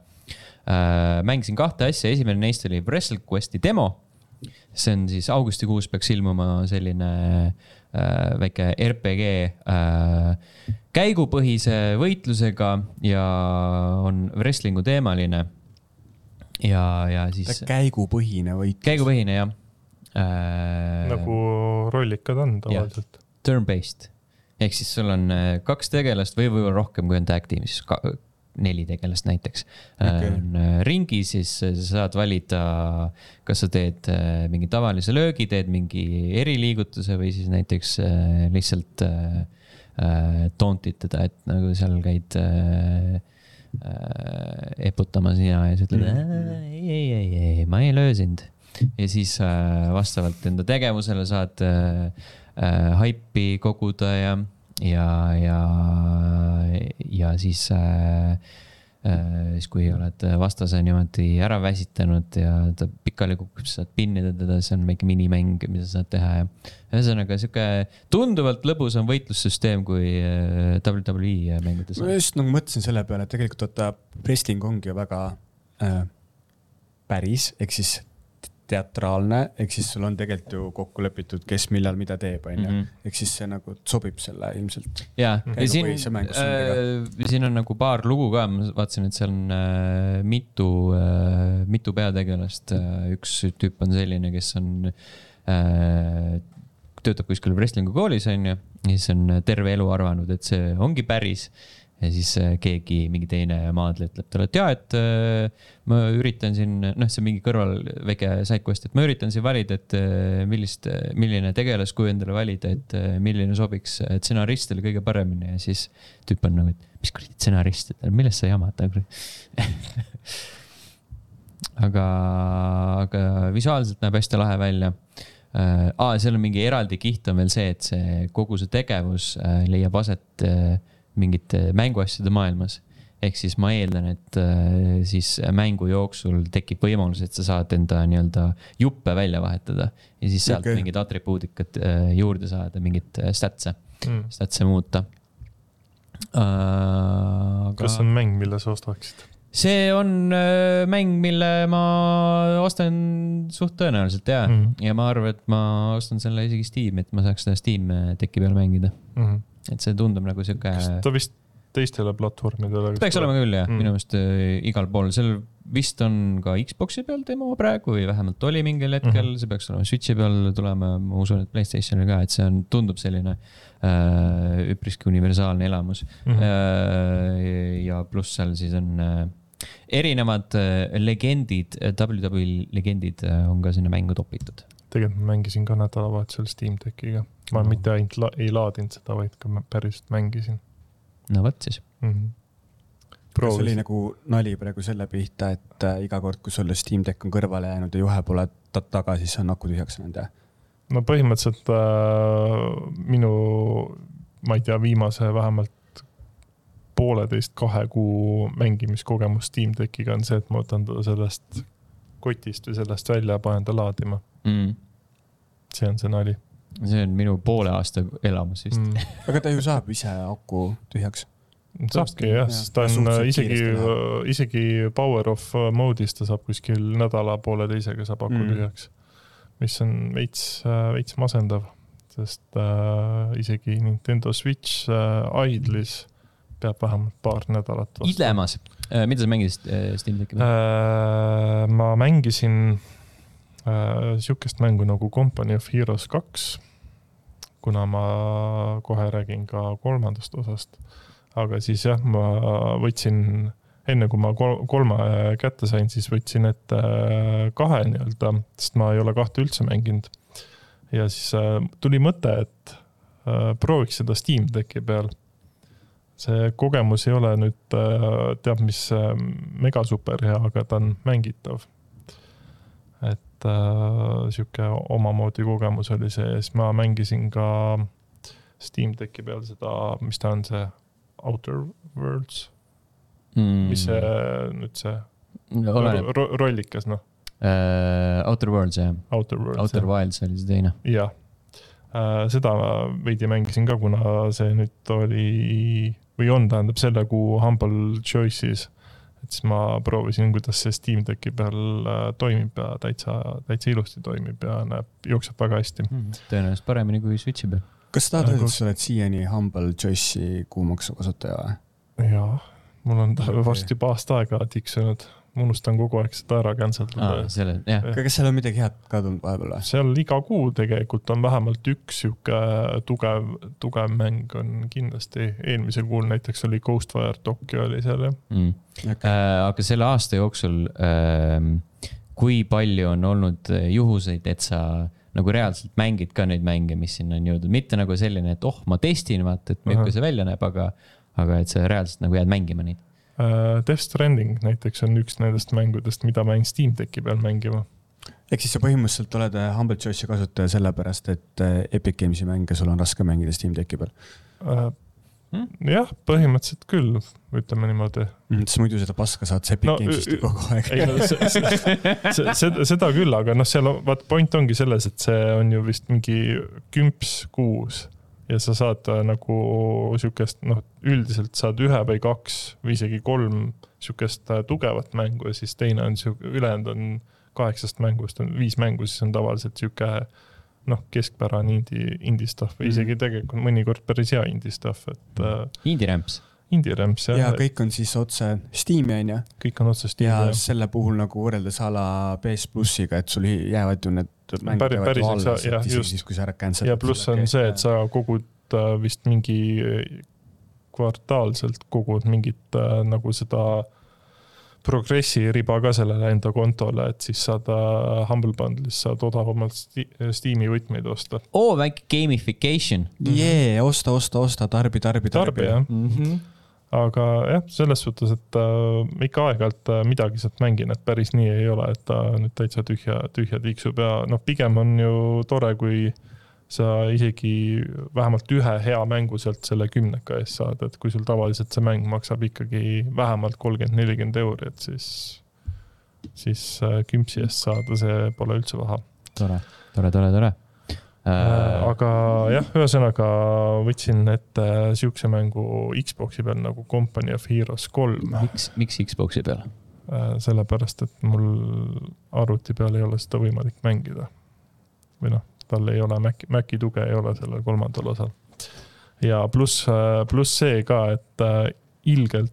Speaker 1: mängisin kahte asja , esimene neist oli WrestleQuesti demo . see on siis augustikuus peaks ilmuma selline äh, väike RPG äh, käigupõhise võitlusega ja on wrestling'u teemaline ja , ja siis
Speaker 3: käigupõhine võit .
Speaker 1: käigupõhine jah äh, .
Speaker 2: nagu rollikad on tavaliselt .
Speaker 1: turn-based ehk siis sul on äh, kaks tegelast või võib-olla rohkem , kui on tag tiim , siis ka, neli tegelast näiteks okay. .
Speaker 3: Okei.
Speaker 1: on äh, ringi , siis äh, sa saad valida , kas sa teed äh, mingi tavalise löögi , teed mingi eriliigutuse või siis näiteks äh, lihtsalt äh, äh, taunt'id teda , et nagu seal käid äh, äh, eputamas ja , ja sa ütled "Äh, ei , ei , ei , ei , ma ei löö sind . ja siis äh, vastavalt enda tegevusele saad äh, äh, haipi koguda ja , ja , ja , ja siis äh, . Äh, siis kui oled vastase niimoodi ära väsitanud ja ta pikali kukub , siis saad pinnida teda , see on väike minimäng , mida sa saad teha ja . ühesõnaga sihuke tunduvalt lõbusam võitlussüsteem kui äh, WWE mängudes
Speaker 3: ma
Speaker 1: on .
Speaker 3: just nagu mõtlesin selle peale , et tegelikult vaata , wrestling ongi ju väga äh, päris , ehk siis teatraalne , ehk siis sul on tegelikult ju kokku lepitud , kes millal mida teeb , onju
Speaker 1: Mhm. .
Speaker 3: ehk siis see nagu sobib selle ilmselt .
Speaker 1: ja , ja siin
Speaker 3: Käigupõhise mängu
Speaker 1: äh, , siin on nagu paar lugu ka , ma vaatasin , et seal on äh, mitu äh, , mitu peategelast äh, . üks tüüp on selline , kes on äh, , töötab kuskil wrestling'u koolis , onju . ja siis on terve elu arvanud , et see ongi päris . ja siis äh, keegi , mingi teine maadleja ütleb talle , et jaa , et äh, ma üritan siin , noh , see on mingi kõrval väike sidequest , et ma üritan siin valida , et äh, millist , milline tegelaskuju endale valida , et äh, milline sobiks äh, stsenaristile kõige paremini ja siis tüüp on nagu , et mis kuradi stsenarist , et millest sa jamad , nagu . aga , aga visuaalselt näeb hästi lahe välja . aa , seal on mingi eraldi kiht on veel see , et see kogu see tegevus äh, leiab aset äh, mingite mänguasjade maailmas. ehk siis ma eeldan, et äh, siis mängu jooksul tekib võimalus , et sa saad enda nii-öelda juppe välja vahetada ja siis sealt
Speaker 3: Okei.
Speaker 1: okay. mingid atribuudikad äh, juurde saada , mingit äh, statse ,
Speaker 2: mm. .
Speaker 1: statse muuta . aga
Speaker 2: kas see on mäng , mille sa ostaksid ?
Speaker 1: see on öö, mäng , mille ma ostan suht tõenäoliselt ja mm. ,
Speaker 2: Mm
Speaker 1: ja ma arvan , et ma ostan selle isegi Steam'i , et ma saaks seda Steam äh, teki peal mängida .
Speaker 2: -hmm.
Speaker 1: et see tundub nagu sihuke ,
Speaker 2: kas ta vist teistele platvormidele
Speaker 1: peaks olema küll jah
Speaker 2: Mm.
Speaker 1: mm. , minu meelest öö, igal pool , seal vist on ka Xbox'i peal demo praegu või vähemalt oli mingil hetkel mm ,
Speaker 2: Mhm.
Speaker 1: -hmm. see peaks olema Switch'i peal tulema , ma usun , et Playstationil ka , et see on , tundub selline öö, üpriski universaalne elamus .
Speaker 2: mm ? -hmm.
Speaker 1: Äh, ja pluss seal siis on äh, erinevad äh, legendid , WWE legendid äh, on ka sinna mängu topitud .
Speaker 2: tegelikult ma mängisin ka nädalavahetusel Steam Deckiga . ma
Speaker 1: Mm.
Speaker 2: mm. mitte ainult la ei laadinud seda , vaid ka ma päriselt mängisin
Speaker 1: no vot siis ,
Speaker 2: mm . -hmm.
Speaker 3: kas oli nagu nali praegu selle pihta , et äh, iga kord , kui sul Steam Deck on kõrvale jäänud ja juhe pole ta taga , siis on aku tühjaks jäänud jah ?
Speaker 2: no põhimõtteliselt äh, minu , ma ei tea , viimase vähemalt pooleteist , kahe kuu mängimiskogemus Steam Deckiga on see , et ma võtan ta sellest kotist või sellest välja ja panen ta laadima .
Speaker 1: mm. .
Speaker 2: see on see nali
Speaker 1: see on minu poole aasta elamus vist mm. .
Speaker 2: mm. .
Speaker 3: aga ta ju saab ise aku tühjaks .
Speaker 2: saabki jah , sest ta
Speaker 3: Ja
Speaker 2: on äh,
Speaker 3: suhteliselt
Speaker 2: isegi äh,
Speaker 3: kiiresti ,
Speaker 2: isegi power off mode'is ta saab kuskil nädala-pooleteisega saab aku
Speaker 3: Mm.
Speaker 2: tühjaks mm. . mis on veits , veits masendav , sest äh, isegi Nintendo Switch äh, idle'is peab vähemalt paar nädalat vastu .
Speaker 1: Ilemas , mida sa mängisid äh, Steam Decki peal ?
Speaker 2: äh, . ma mängisin äh, sihukest mängu nagu Company of Heroes kaks , kuna ma kohe räägin ka kolmandast osast . aga siis jah , ma võtsin , enne kui ma kol- kolme kätte sain , siis võtsin ette äh, kahe nii-öelda , sest ma ei ole kahte üldse mänginud . ja siis äh, tuli mõte , et äh, prooviks seda Steam Decki peal . see kogemus ei ole nüüd äh, teab mis äh, mega super hea , aga ta on mängitav . et äh, sihuke omamoodi kogemus oli see ja siis ma mängisin ka Steam Decki peal seda , mis ta on , see Outer Worlds , mis see nüüd see
Speaker 1: Mm. oleneb ,
Speaker 2: ro ro- rollikas noh ,
Speaker 1: Outer Worlds jah ,
Speaker 2: Outer Worlds .
Speaker 1: Outer Wilds oli see teine .
Speaker 2: jah , seda ma veidi mängisin ka , kuna see nüüd oli või on , tähendab selle kuu Humble Choices . et siis ma proovisin , kuidas see Steam Decki peal äh, toimib ja täitsa , täitsa ilusti toimib ja näeb , jookseb väga hästi .
Speaker 1: tõenäoliselt paremini kui Switch'i peal .
Speaker 3: kas sa tahad
Speaker 2: Nagu-
Speaker 3: öelda , et sa oled siiani Humble Choice'i kuumaksu kasutaja või ?
Speaker 2: jaa , mul on ta
Speaker 3: Okei.
Speaker 2: varsti juba aasta aega tiksunud , ma unustan kogu aeg seda ära cancel
Speaker 1: aa
Speaker 2: ida ,
Speaker 1: selle , Ah, jah .
Speaker 3: aga kas seal on midagi head ka tulnud vahepeal või ?
Speaker 2: seal iga kuu tegelikult on vähemalt üks sihuke tugev , tugev mäng on kindlasti , eelmisel kuul näiteks oli Ghostwire Tokyo oli seal jah .
Speaker 1: Mm. Äh, aga selle aasta jooksul ähm, , kui palju on olnud äh, juhuseid , et sa nagu reaalselt mängid ka neid mänge , mis sinna on jõudnud , mitte nagu selline , et oh , ma testin , vaata , et milline
Speaker 2: Ahah.
Speaker 1: see välja näeb , aga , aga et sa reaalselt nagu jääd mängima neid .
Speaker 2: Äh, Death Stranding näiteks on üks nendest mängudest , mida ma jäin Steam Decki peal mängima .
Speaker 3: ehk siis sa põhimõtteliselt oled äh, Humble Choice'i kasutaja sellepärast , et äh, Epic Games'i mänge sul on raske mängida Steam Decki peal .
Speaker 1: Hmm?
Speaker 2: Äh, jah , põhimõtteliselt küll , ütleme niimoodi .
Speaker 3: Mhm, sest muidu seda paska saad sa Epic
Speaker 2: No,
Speaker 3: no, Games'ist
Speaker 2: ü-
Speaker 3: ju kogu aeg .
Speaker 2: ei no se- se- se- seda , seda küll , aga noh , seal on , vaat point ongi selles , et see on ju vist mingi kümps kuus ja sa saad äh, nagu sihukest , noh , üldiselt saad ühe või kaks või isegi kolm sihukest äh, tugevat mängu ja siis teine on sihuke , ülejäänud on kaheksast mängust on viis mängu , siis on tavaliselt sihuke noh , keskpärane indie , indie stuff või isegi tegelikult mõnikord päris hea indie stuff , et äh,
Speaker 1: Indie Ramps ,
Speaker 2: indie rämps
Speaker 3: ja
Speaker 2: jah ,
Speaker 3: kõik on siis otse Steam'i on ju ,
Speaker 2: kõik on otsest
Speaker 3: ja selle puhul nagu võrreldes a la PS plussiga , et sul jäävad ju need mängud
Speaker 2: Päri-
Speaker 3: jäävad ju
Speaker 2: päriselt
Speaker 3: alles ,
Speaker 2: sa- jah,
Speaker 3: et isegi
Speaker 2: just.
Speaker 3: siis , kui sa ära cancel'd .
Speaker 2: ja pluss on see , et sa kogud äh, vist mingi äh, kvartaalselt kogud mingit äh, nagu seda progressi riba ka sellele enda kontole , et siis saad äh, Humble Bundle'is saad odavamalt Sti- Steam'i võtmeid osta .
Speaker 1: oo Oh, väike gamification
Speaker 3: jee , osta , osta , osta , tarbi , tarbi ,
Speaker 2: tarbi jah ,
Speaker 1: mm . -hmm.
Speaker 2: Mhm. aga jah , selles suhtes , et äh, ikka aeg-ajalt äh, midagi sealt mängin , et äh, päris nii ei ole , et ta nüüd täitsa tühja , tühja tiksub ja noh , pigem on ju tore , kui sa isegi vähemalt ühe hea mängu sealt selle kümneka eest saad, et kui sul tavaliselt see mäng maksab ikkagi vähemalt kolmkümmend, nelikümmend euri, et siis, siis äh, kümpsi eest saada, see pole üldse paha.
Speaker 1: tore, tore, tore, tore
Speaker 2: äh,. aga jah, ühesõnaga võtsin ette äh, siukse mängu Xbox'i peal nagu Company of Heroes kolm.
Speaker 1: miks, miks Xbox'i peal?
Speaker 2: Äh, sellepärast, et mul arvuti peal ei ole seda võimalik mängida. või noh, tal ei ole Maci, Maci tuge ei ole sellel kolmandal osal. ja pluss, äh, pluss see ka, et äh, ilgelt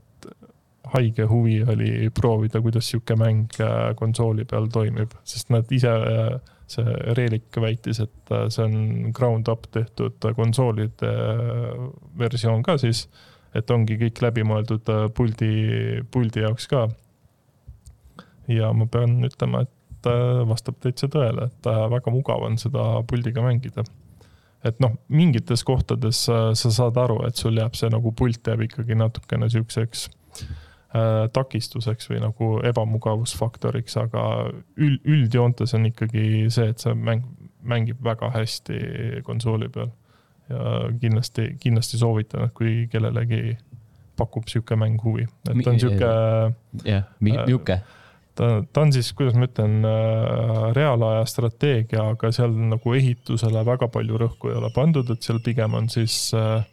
Speaker 2: haige huvi oli proovida, kuidas sihuke mäng äh, konsooli peal toimib, sest nad ise äh, see Relik väitis, et äh, see on ground up tehtud konsoolide äh, versioon ka siis, et ongi kõik läbimõeldud äh, puldi, puldi jaoks ka. ja ma pean ütlema, et äh, vastab täitsa tõele, et äh, väga mugav on seda puldiga mängida. et noh, mingites kohtades äh, sa saad aru, et sul jääb see nagu pult jääb ikkagi natukene siukseks äh, takistuseks või nagu ebamugavusfaktoriks, aga üld, üldjoontes on ikkagi see, et see mäng, mängib väga hästi konsooli peal. ja kindlasti, kindlasti soovitan, et kui kellelegi pakub sihuke mäng huvi, et ta on sihuke.
Speaker 1: jah,
Speaker 2: Äh.
Speaker 1: nihuke.
Speaker 2: ta, ta on siis, kuidas ma ütlen, äh, reaalaja strateegia, aga seal nagu ehitusele väga palju rõhku ei ole pandud, et seal pigem on siis äh,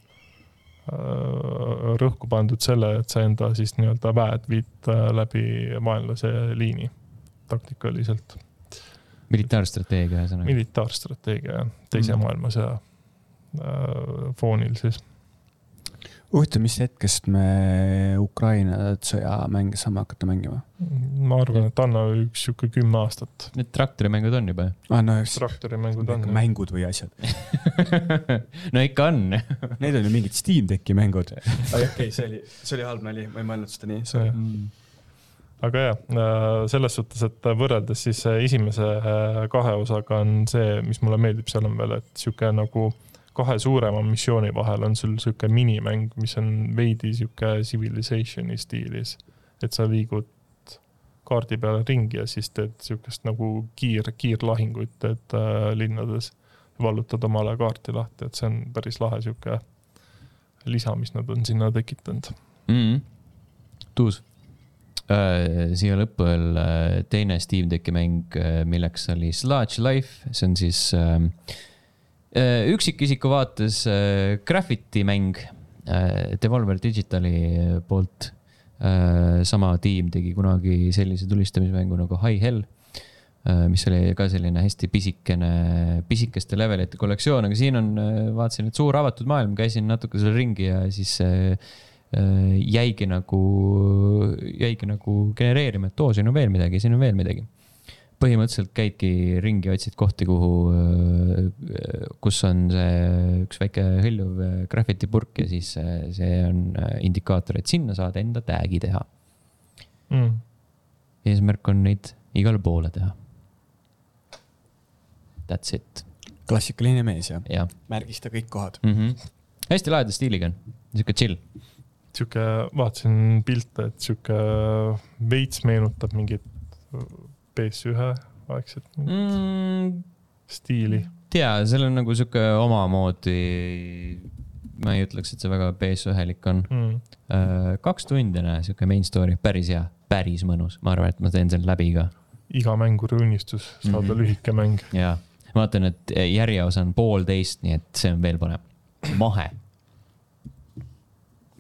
Speaker 2: rõhku pandud selle, et sa enda siis nii-öelda väed viid äh, läbi vaenlase liini taktikaliselt.
Speaker 1: militaarstrateegia ühesõnaga.
Speaker 2: militaarstrateegia jah, teise mm. maailmasõja äh, foonil siis.
Speaker 3: huvitav, mis hetkest me Ukraina sõjamänge saame hakata mängima?
Speaker 2: ma arvan, et anna üks sihuke kümme aastat.
Speaker 1: Need traktorimängud on juba ju?
Speaker 3: aa, Ah, no eks
Speaker 2: traktorimängud on.
Speaker 3: mängud või asjad
Speaker 1: no ikka on
Speaker 3: Need on ju mingid Steam Decki mängud okei okay, , see oli , see oli halb nali , ma ei mõelnud seda nii , sorry .
Speaker 1: Mm.
Speaker 2: aga jah , selles suhtes , et võrreldes siis äh, esimese äh, kahe osaga on see , mis mulle meeldib , seal on veel , et sihuke nagu kahe suurema missiooni vahel on sul sihuke minimäng , mis on veidi sihuke civilization'i stiilis . et sa liigud kaardi peal ringi ja siis teed sihukest nagu kiir , kiirlahinguid teed äh, linnades . vallutad omale kaarti lahti , et see on päris lahe sihuke lisa , mis nad on sinna tekitanud .
Speaker 1: mm . -hmm. tuus . siia lõppu veel äh, teine Steam Decki mäng , milleks oli Sludge Life , see on siis äh, äh, üksikisiku vaates äh, graffiti mäng äh, Devolver Digitali poolt äh, . sama tiim tegi kunagi sellise tulistamismängu nagu High Hell äh, mis oli ka selline hästi pisikene , pisikeste levelite kollektsioon , aga siin on , vaatasin , et suur avatud maailm , käisin natuke seal ringi ja siis äh, äh, jäigi nagu , jäigi nagu genereerima , et oo , siin on veel midagi , siin on veel midagi . põhimõtteliselt käidki ringi , otsid kohti , kuhu , kus on see üks väike hõljuv äh, graffiti purk ja siis äh, see on äh, indikaator , et sinna saad enda tag'i teha .
Speaker 2: Mm.
Speaker 1: eesmärk on neid igale poole teha . That's it ,
Speaker 3: klassikaline mees ja
Speaker 1: jah
Speaker 3: märgista kõik kohad .
Speaker 1: mm . -hmm. hästi laheda stiiliga on , sihuke chill .
Speaker 2: sihuke , vaatasin pilte , et sihuke veits meenutab mingit PS1 aegset mm.
Speaker 1: Mm,
Speaker 2: stiili .
Speaker 1: tea , seal on nagu sihuke omamoodi , ma ei ütleks , et see väga PS1-lik on .
Speaker 2: Mm.
Speaker 1: kaks tundi on sihuke main story , päris hea , päris mõnus , ma arvan , et ma teen selle läbi ka .
Speaker 2: iga mänguri unistus saada mm
Speaker 1: Mhm.
Speaker 2: -hmm. lühike mäng .
Speaker 1: ja vaatan , et e, järjeosa on poolteist , nii et see on veel parem , mahe .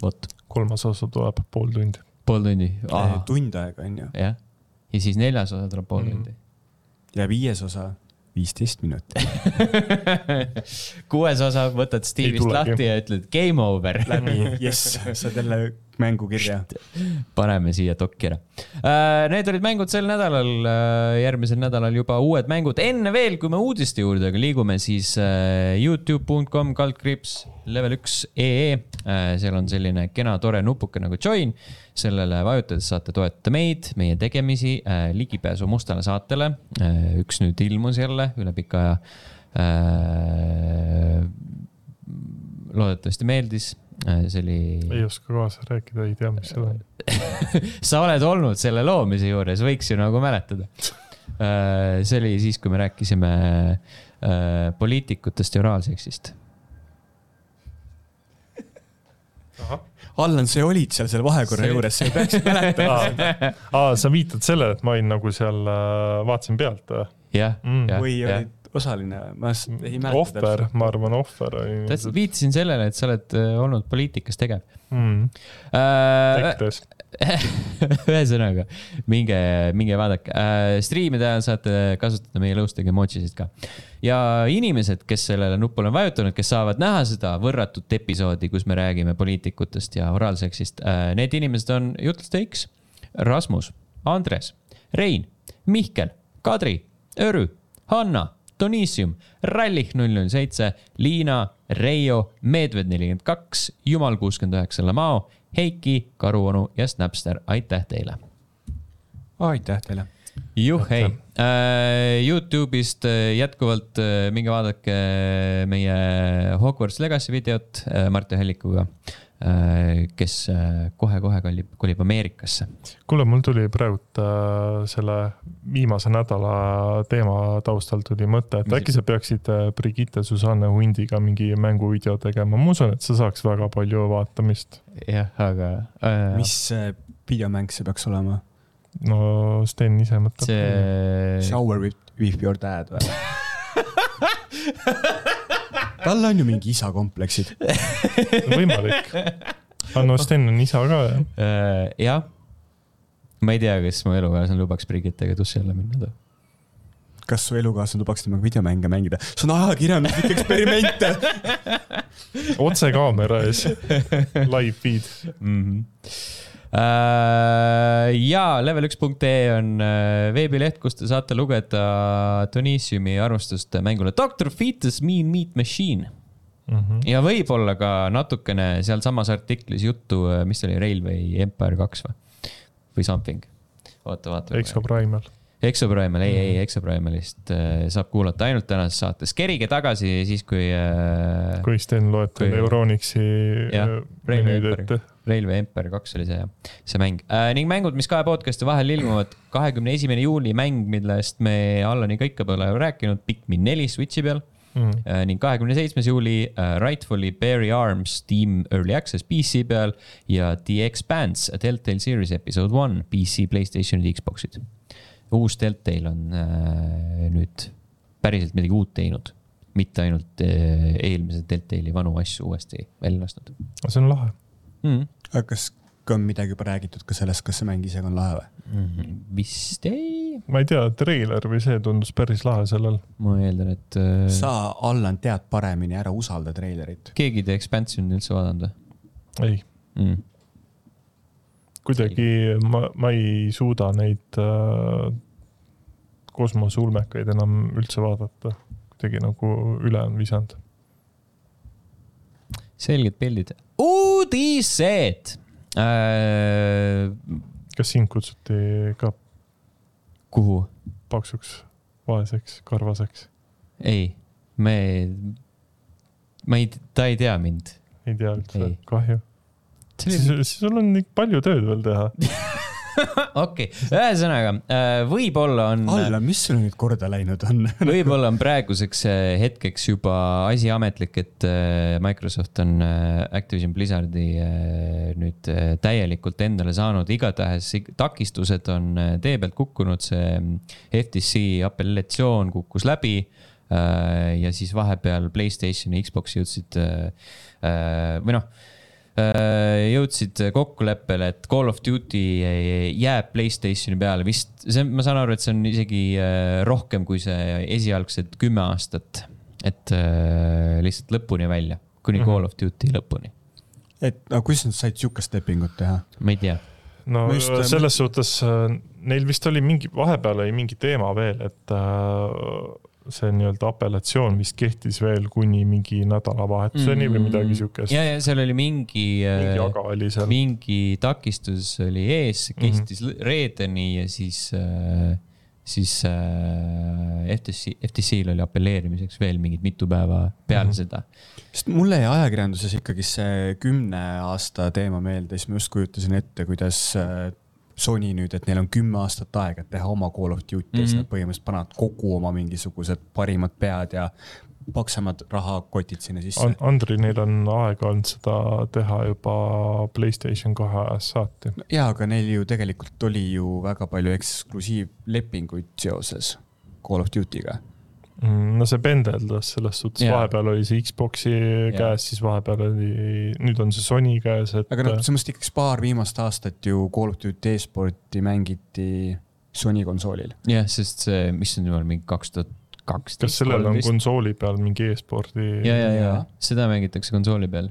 Speaker 1: vot ,
Speaker 2: kolmas osa tuleb pool tundi .
Speaker 1: pool tundi ,
Speaker 3: tund aega on ju ,
Speaker 1: jah , ja siis neljas osa tuleb pool tundi .
Speaker 3: ja viies osa viisteist minutit .
Speaker 1: kuues osa võtad Steve'ist
Speaker 2: tulegi.
Speaker 1: lahti ja ütled game over .
Speaker 3: läbi , jess , saad jälle mängu kirja .
Speaker 1: paneme siia dokki ära . Need olid mängud sel nädalal , järgmisel nädalal juba uued mängud . enne veel , kui me uudiste juurde aga liigume , siis äh, Youtube.com kaldkriips level üks ee . seal on selline kena tore nupuke nagu join . sellele vajutades saate toetada meid , meie tegemisi , ligipääsu mustale saatele . üks nüüd ilmus jälle üle pika aja Äh, loodetavasti meeldis , see oli
Speaker 2: ei oska kaasa rääkida , ei tea , mis seal on .
Speaker 1: sa oled olnud selle loomise juures , võiks ju nagu mäletada . see oli siis , kui me rääkisime äh, poliitikutest ja oraalseksist .
Speaker 3: Allan , sa olid seal selle vahekorra
Speaker 1: See-
Speaker 3: juures , sa ei peaks mäletama .
Speaker 2: aa , sa viitad sellele , et ma olin nagu seal , vaatasin pealt või ?
Speaker 1: jah ,
Speaker 2: Mm.
Speaker 1: jah ,
Speaker 3: või
Speaker 1: jah .
Speaker 3: olid osaline , ma s- ei mäleta .
Speaker 2: ohver , ma arvan , ohver oli .
Speaker 1: täpselt viitasin sellele , et sa oled äh, olnud poliitikas tegev .
Speaker 2: Mm.
Speaker 1: Äh,
Speaker 2: EKRE-s .
Speaker 1: ühesõnaga , minge , minge vaadake äh, . striimide ajal saate kasutada meie lõustega emojisid ka . ja inimesed , kes sellele nupule on vajutanud , kes saavad näha seda võrratut episoodi , kus me räägime poliitikutest ja oraalseksist äh, , need inimesed on Jutlsteiks , Rasmus , Andres , Rein , Mihkel , Kadri , Örü , Hanna , Donissium , Rallih null null seitse , Liina , Reio , Meedved nelikümmend kaks , Jumal kuuskümmend üheksa , Lamao , Heiki , Karuonu ja Snapster , aitäh teile
Speaker 3: aitäh teile .
Speaker 1: juhhei , Youtube'ist äh, jätkuvalt äh, minge vaadake äh, meie Hogwarts Legacy videot äh, Martti Hallikuga , kes äh, kohe-kohe kolib , kolib Ameerikasse .
Speaker 2: kuule , mul tuli praegult äh, selle viimase nädala teema taustal tuli mõte , et
Speaker 1: Mis
Speaker 2: äkki sa peaksid äh, Brigitte Susanne Hundiga mingi mänguvideo tegema , ma usun , et see saaks väga palju vaatamist .
Speaker 1: jah , aga äh,
Speaker 3: mis äh, videomäng see peaks olema ?
Speaker 2: no Sten ise mõtleb .
Speaker 1: see ,
Speaker 3: Shower with, with your dad või ? tal on ju mingi isa kompleksid .
Speaker 2: võimalik . aga no Sten on isa ka jah .
Speaker 1: Äh, jah . ma ei tea , kas mu elukaaslane lubaks Brigittega duši alla minna .
Speaker 3: kas su elukaaslane lubaks temaga videomänge mängida ? see on ajakirjanduslik eksperiment .
Speaker 2: otse kaamera ees , live feed .
Speaker 1: mm . -hmm. Uh, ja level1.ee on uh, veebileht , kus te saate lugeda Donissiumi arvustust mängule Doctor Fetus Mean Meat Machine .
Speaker 2: Mhm.
Speaker 1: ja võib-olla ka natukene sealsamas artiklis juttu , mis see oli , Railway Empire kaks või , või something . oota , vaatame .
Speaker 2: Exo Primal .
Speaker 1: Exoprimal , ei , ei , Exoprimalist äh, saab kuulata ainult tänases saates , kerige tagasi siis , kui äh,
Speaker 2: kui Sten loeb teile
Speaker 1: Kui-
Speaker 2: Euronixi äh,
Speaker 1: Jah, Rail
Speaker 2: menüüd
Speaker 1: Empire.
Speaker 2: ette .
Speaker 1: Railway Empire kaks oli see jah , see mäng äh, . ning mängud , mis kahe podcast'i vahel ilmuvad . kahekümne esimene juuli mäng , millest me Allaniga ikka pole rääkinud , Pikmin neli Switch'i peal
Speaker 2: Mm.
Speaker 1: äh, . ning kahekümne seitsmes juuli äh, Rightfully Barry Arms Steam Early Access PC peal ja The Expanse A Telltale Series Episode One PC , Playstationid ja Xbox'id . uus Telltale on äh, nüüd päriselt midagi uut teinud , mitte ainult äh, eelmise Telltale'i vanu asju uuesti välja lasknud
Speaker 2: see on lahe .
Speaker 1: mm. .
Speaker 3: aga kas ka on midagi juba räägitud ka sellest , kas see mäng ise on lahe või ?
Speaker 1: Mhm, vist ei ,
Speaker 2: ma ei tea , treiler või see tundus päris lahe sellel .
Speaker 1: ma eeldan , et äh,
Speaker 3: sa , Allan , tead paremini , ära usalda treilerit .
Speaker 1: keegi The Expansion'i üldse vaadanud
Speaker 2: ei ,
Speaker 1: või mm. ?
Speaker 2: kuidagi ma , ma ei suuda neid äh, kosmoseulmekaid enam üldse vaadata . kuidagi nagu üle on visanud .
Speaker 1: selged pildid , uudised äh, .
Speaker 2: kas sind kutsuti ka
Speaker 1: kuhu ?
Speaker 2: paksuks , vaeseks , karvaseks ?
Speaker 1: ei , me , ma ei , ta ei tea mind .
Speaker 2: ei tea üldse
Speaker 1: Ei. ,
Speaker 2: kahju . siis , siis sul on nii palju tööd veel teha .
Speaker 1: okei , ühesõnaga äh, võib-olla on ,
Speaker 3: Allan , mis sul nüüd korda läinud on ?
Speaker 1: võib-olla on praeguseks äh, hetkeks juba asi ametlik , et äh, Microsoft on äh, Activision Blizzardi äh, nüüd äh, täielikult endale saanud , igatahes ig- takistused on äh, tee pealt kukkunud , see mm, FTC apellatsioon kukkus läbi äh, ja siis vahepeal Playstationi , Xbox'i jõudsid äh, äh, või noh äh, jõudsid kokkuleppele , et Call of Duty äh, jääb Playstationi peale vist , see , ma saan aru , et see on isegi äh, rohkem kui see esialgsed kümme aastat . et äh, lihtsalt lõpuni välja , kuni
Speaker 2: Mhm.
Speaker 1: Call of Duty lõpuni ,
Speaker 3: et , aga kuidas nad said sihukest lepingut teha ?
Speaker 1: ma ei tea .
Speaker 2: no
Speaker 3: Ma just-
Speaker 2: selles suhtes äh, neil vist oli mingi , vahepeal oli mingi teema veel , et äh, see nii-öelda apellatsioon vist kehtis veel kuni mingi nädalavahetuseni või midagi siukest .
Speaker 1: ja , ja seal oli mingi,
Speaker 2: mingi
Speaker 1: äh,
Speaker 2: jaga oli seal . Mhm.
Speaker 1: mingi takistus oli ees , kestis mm -hmm. reedeni ja siis äh, siis äh, FTC , FTC-l oli apelleerimiseks veel mingid mitu päeva peale mm -hmm.
Speaker 2: Mhm.
Speaker 1: seda .
Speaker 3: sest mulle jäi ajakirjanduses ikkagi see kümne aasta teema meelde , siis ma just kujutasin ette , kuidas äh, Sony nüüd , et neil on kümme aastat aega , et teha oma Call of Duty mm -hmm. ja siis
Speaker 1: Mhm.
Speaker 3: nad põhimõtteliselt panevad kogu oma mingisugused parimad pead ja paksemad rahakotid sinna sisse
Speaker 2: An- , Andri , neil on aega olnud seda teha juba Playstation kahe ajast saati .
Speaker 3: jaa , aga neil ju tegelikult oli ju väga palju eksklusiivlepinguid seoses Call of Duty'ga .
Speaker 2: Mm, no see pendeldas selles suhtes ,
Speaker 1: Jaa.
Speaker 2: vahepeal oli see Xbox'i
Speaker 1: Jaa.
Speaker 2: käes , siis vahepeal oli , nüüd on see Sony käes , et
Speaker 3: aga noh , selles mõttes ikkagi paar viimast aastat ju Call of Duty e-sporti mängiti Sony konsoolil .
Speaker 1: jah , sest see , mis on jumal mingi kaks tuhat kaksteist .
Speaker 2: kas sellel on konsooli peal mingi e-spordi
Speaker 1: ja , ja , ja
Speaker 3: Jaa.
Speaker 1: seda mängitakse konsooli peal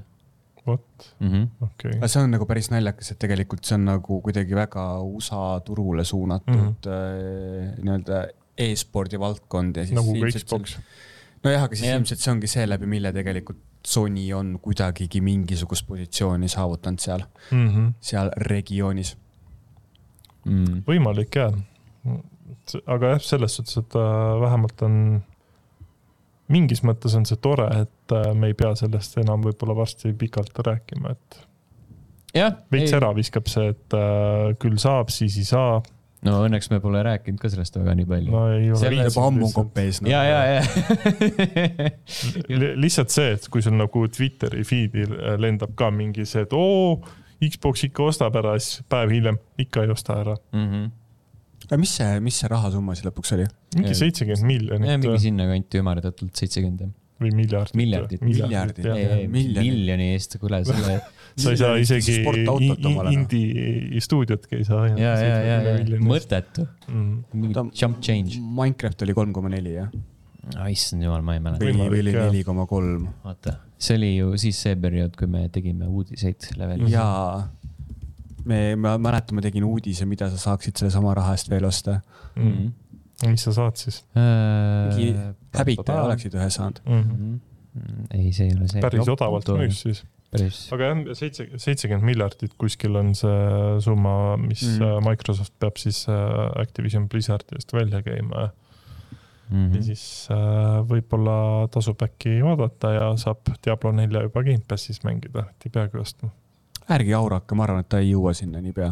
Speaker 2: vot ,
Speaker 1: mm . -hmm.
Speaker 2: okei
Speaker 3: aga see on nagu päris naljakas , et tegelikult see on nagu kuidagi väga USA turule suunatud mm
Speaker 2: Mhm.
Speaker 3: -hmm. nii-öelda e-spordi valdkond ja siis .
Speaker 2: nagu ka Xbox .
Speaker 3: nojah , aga siis
Speaker 1: Jah.
Speaker 3: yeah. ilmselt see ongi see läbi , mille tegelikult Sony on kuidagigi mingisugust positsiooni saavutanud seal ,
Speaker 2: mm . -hmm.
Speaker 3: seal regioonis .
Speaker 1: Mm.
Speaker 2: võimalik jah . aga jah , selles suhtes , et äh, vähemalt on , mingis mõttes on see tore , et äh, me ei pea sellest enam võib-olla varsti pikalt rääkima , et
Speaker 1: jah ,
Speaker 2: veits ära viskab see , et äh, küll saab , siis ei saa .
Speaker 1: no õnneks me pole rääkinud ka sellest väga nii palju no. .
Speaker 2: no ei ole
Speaker 1: Selle
Speaker 2: viitsinud
Speaker 3: juba ammu on
Speaker 2: lihtsalt.
Speaker 3: kopees .
Speaker 1: ja , ja , ja .
Speaker 2: Li- lihtsalt see , et kui sul nagu Twitteri feed'il äh, lendab ka mingi see , et oo , Xbox ikka ostab ära , siis päev hiljem ikka ei osta ära .
Speaker 1: Mhm.
Speaker 3: aga mis see , mis see rahasumma siis lõpuks oli ?
Speaker 2: mingi
Speaker 1: Ei.
Speaker 2: seitsekümmend miljonit
Speaker 1: mingi
Speaker 2: äh,
Speaker 1: sinnakanti ümardatult seitsekümmend jah .
Speaker 2: või miljardit .
Speaker 1: Miljardit.
Speaker 3: Miljardit,
Speaker 2: jah.
Speaker 3: ei, ei. Miljoni.
Speaker 1: miljoni eest , kuule selle .
Speaker 2: sa ei saa
Speaker 3: Miljonit
Speaker 2: isegi
Speaker 3: sportautot
Speaker 2: i- i-
Speaker 3: omale. noh.
Speaker 2: indie stuudiotki ei saa
Speaker 1: ja , ja , ja , ja mõttetu ,
Speaker 2: Mm.
Speaker 1: mingi
Speaker 3: Ta-
Speaker 1: jump change .
Speaker 3: Minecraft oli kolm koma neli jah ?
Speaker 1: issand jumal , ma ei mäleta .
Speaker 2: Või-
Speaker 3: või
Speaker 2: Võimalik,
Speaker 3: oli
Speaker 2: jah.
Speaker 3: neli koma kolm
Speaker 1: vaata , see oli ju siis see periood , kui me tegime uudiseid levelis .
Speaker 3: jaa , me , ma mäletan , ma tegin uudise , mida sa saaksid sellesama raha eest veel osta .
Speaker 1: Mhm.
Speaker 2: Mm. mis sa saad siis
Speaker 3: mingi
Speaker 1: mingi
Speaker 3: häbitaja . oleksid ühe saanud .
Speaker 2: mm. ?
Speaker 1: Mhm. ei , see ei ole see .
Speaker 2: päris odavalt müüs . siis .
Speaker 1: päris ,
Speaker 2: aga jah , seitse , seitsekümmend miljardit kuskil on see summa , mis
Speaker 3: Mm.
Speaker 2: mm. Microsoft peab siis äh, Activision Blizzardi eest välja käima mm. ja
Speaker 1: Mhm.
Speaker 2: siis äh, võib-olla tasub äkki oodata ja saab Diablo nelja juba Gamepassis mängida , et ei peagi ostma .
Speaker 3: ärge aurake , ma arvan , et ta ei jõua sinna niipea .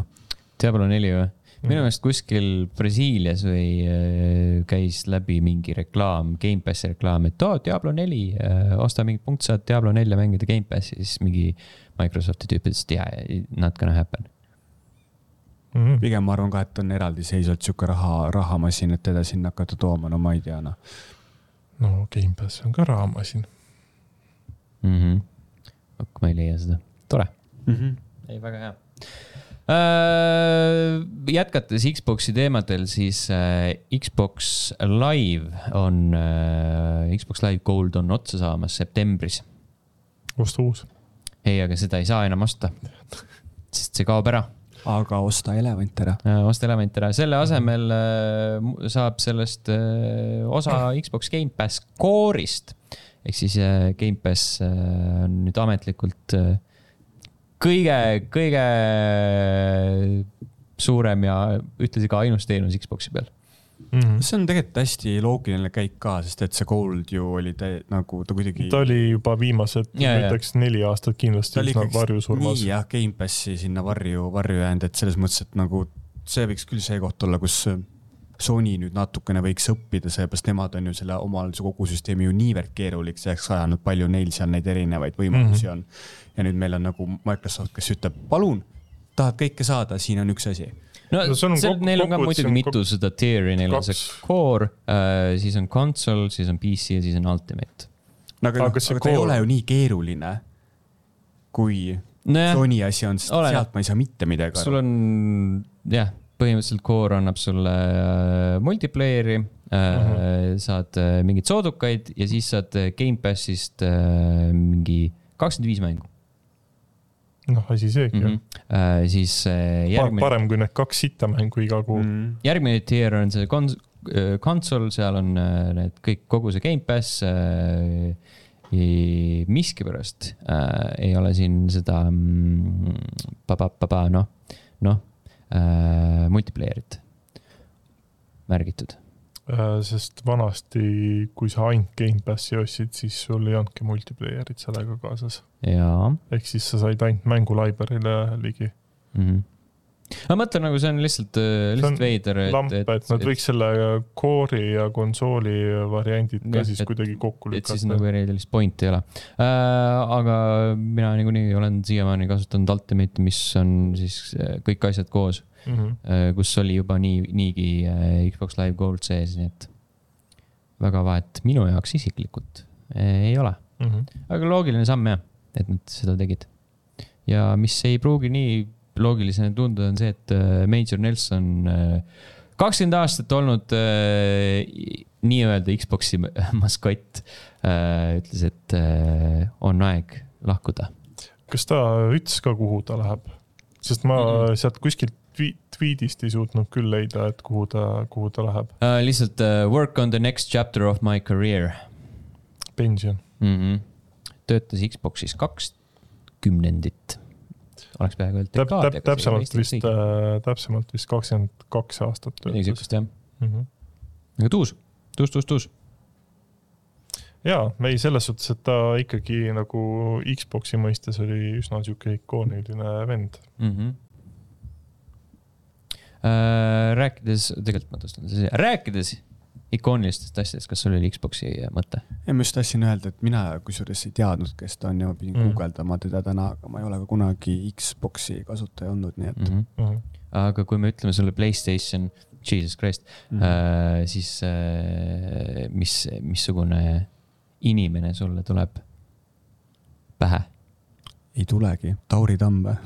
Speaker 1: Diablo neli või ?
Speaker 2: Mhm.
Speaker 1: minu
Speaker 2: Mm.
Speaker 1: meelest kuskil Brasiilias või äh, käis läbi mingi reklaam , Gamepassi reklaam , et oo , Diablo neli , osta mingi punkt , saad Diablo nelja mängida Gamepassi , siis mingi Microsofti tüüp ütles , et yeah , not gonna happen .
Speaker 2: mm. .
Speaker 3: pigem ma arvan ka , et on eraldiseisvalt sihuke raha , rahamasin , et teda sinna hakata tooma , no ma ei tea noh .
Speaker 2: no Gamepass on ka rahamasin .
Speaker 1: ok , Mhm. ma ei leia seda , tore . ei , väga hea . jätkates Xbox'i teemadel , siis äh, Xbox Live on , Xbox Live Gold on otsa saamas septembris .
Speaker 2: osta uus .
Speaker 1: ei , aga seda ei saa enam osta . sest see kaob ära ,
Speaker 3: aga osta elevant ära .
Speaker 1: Äh, osta element ära , selle
Speaker 2: Mhm.
Speaker 1: asemel äh, mu- saab sellest äh, osa Xbox Gamepass Core'ist . ehk siis äh, Gamepass äh, on nüüd ametlikult äh, kõige , kõige äh, suurem ja ühtlasi ka ainus teenus Xbox'i peal .
Speaker 2: Mm.
Speaker 3: see on tegelikult hästi loogiline käik ka , sest et see Gold ju oli täi- nagu ta kuidagi .
Speaker 2: Mhm. ta oli juba viimased ,
Speaker 1: Ja,
Speaker 2: ma
Speaker 1: ja.
Speaker 2: ütleks neli aastat kindlasti üsna varjusurmas
Speaker 3: nii . jah , Gamepassi sinna varju , varju jäänud , et selles mõttes , et nagu see võiks küll see koht olla , kus Sony nüüd natukene võiks õppida , sellepärast nemad on ju selle omal see kogu süsteemi ju niivõrd keeruliseks ajaks ajanud , palju neil seal neid erinevaid võimalusi mm -hmm. on . ja nüüd meil on nagu Microsoft , kes ütleb , palun , tahad kõike saada , siin on üks asi .
Speaker 1: no
Speaker 2: No sul on
Speaker 1: seal-
Speaker 2: kok-
Speaker 1: neil on ka
Speaker 2: kokkuvõttes
Speaker 1: muidugi
Speaker 2: on
Speaker 1: mitu seda tier'i , neil on see
Speaker 2: kaks-
Speaker 1: core , siis on console , siis on PC ja siis on ultimate .
Speaker 3: no aga,
Speaker 2: Aga
Speaker 3: aga,
Speaker 2: kas see
Speaker 3: Nagu noh, aga ta ei
Speaker 2: core-
Speaker 3: ole ju nii keeruline , kui
Speaker 1: nojah ,
Speaker 3: Sony asi on , sest
Speaker 1: oleneb.
Speaker 3: sealt ma ei saa mitte midagi
Speaker 1: sul
Speaker 3: aru .
Speaker 1: on jah , põhimõtteliselt core annab sulle äh, multiplayer'i äh, , saad äh, mingeid soodukaid ja siis saad äh, Gamepassist äh, mingi kakskümmend viis mängu
Speaker 2: noh , asi seegi
Speaker 1: mm .
Speaker 2: mm .
Speaker 1: -hmm. Äh, siis äh,
Speaker 2: -hmm.
Speaker 1: järgmine ,
Speaker 2: parem kui need kaks sitta mängu iga
Speaker 3: Mhm.
Speaker 2: kuu mm .
Speaker 1: järgmine tier on see kons- , konsol , seal on äh, need kõik , kogu see Gamepass äh, . miskipärast äh, ei ole siin seda mm, pa-pa-pa-pa , noh , noh äh, multiplayer'it märgitud .
Speaker 2: -hmm. sest vanasti , kui sa ainult Gamepassi ostsid , siis sul ei olnudki multiplayer'it sellega kaasas .
Speaker 1: jaa
Speaker 2: ehk siis sa said ainult mängu library'le ligi .
Speaker 1: mm. . ma mõtlen nagu see on lihtsalt , lihtsalt veider ,
Speaker 2: lamp ,
Speaker 1: et ,
Speaker 2: et nad võiks selle core'i ja konsooli variandid
Speaker 1: Jah,
Speaker 2: ka siis
Speaker 1: et-
Speaker 2: kuidagi kokku
Speaker 1: et siis
Speaker 2: lükata
Speaker 1: nagu . erilist pointi ei ole äh, . aga mina niikuinii olen siiamaani kasutanud Ultimate'i , mis on siis äh, kõik asjad koos
Speaker 2: Mhm,
Speaker 1: äh, , kus oli juba nii , niigi äh, Xbox Live Gold sees , nii et väga vahet minu jaoks isiklikult äh, ei ole .
Speaker 2: mhm.
Speaker 1: aga loogiline samm jah , et nad seda tegid . ja mis ei pruugi nii loogilisena tunduda , on see , et äh, Major Nelson äh, kakskümmend aastat olnud äh, i- nii-öelda Xbox'i m- maskott äh, ütles , et äh, on aeg lahkuda .
Speaker 2: kas ta ütles ka , kuhu ta läheb ? sest ma
Speaker 1: Mm-mm.
Speaker 2: sealt kuskilt twi- tweetist ei suutnud küll leida , et kuhu ta , kuhu ta läheb .
Speaker 1: Uh, lihtsalt uh, work on the next chapter of my career
Speaker 2: pension .
Speaker 1: mm . -hmm. töötas Xbox'is kaks kümnendit . oleks peaaegu öelnud
Speaker 2: täp- ,
Speaker 1: dekaad .
Speaker 2: täp- , täpsemalt vist , äh, täpsemalt vist kakskümmend kaks aastat
Speaker 1: midagi
Speaker 2: töötas .
Speaker 1: siukest
Speaker 2: Mhm.
Speaker 1: jah , aga tuus , tuus , tuus , tuus .
Speaker 2: jaa , ei selles suhtes , et ta ikkagi nagu Xbox'i mõistes oli üsna sihuke ikooniline vend .
Speaker 1: mm . -hmm. Äh, rääkides , tegelikult ma tõstan siis , rääkides ikoonilistest asjadest , kas sul oli Xbox'i äh, mõte ?
Speaker 3: ei , ma just tahtsin öelda , et mina kusjuures ei teadnud , kes ta on ja ma pidin
Speaker 2: Mm.
Speaker 3: mm. guugeldama teda täna , aga ma ei ole ka kunagi Xbox'i kasutaja olnud , nii et
Speaker 1: Mm -hmm. aga kui me ütleme sulle Playstation , jesus christ
Speaker 3: Mhm.
Speaker 1: mm , -hmm. äh, siis äh, mis , missugune inimene sulle tuleb pähe ?
Speaker 3: ei tulegi . Tauri Tamm või ?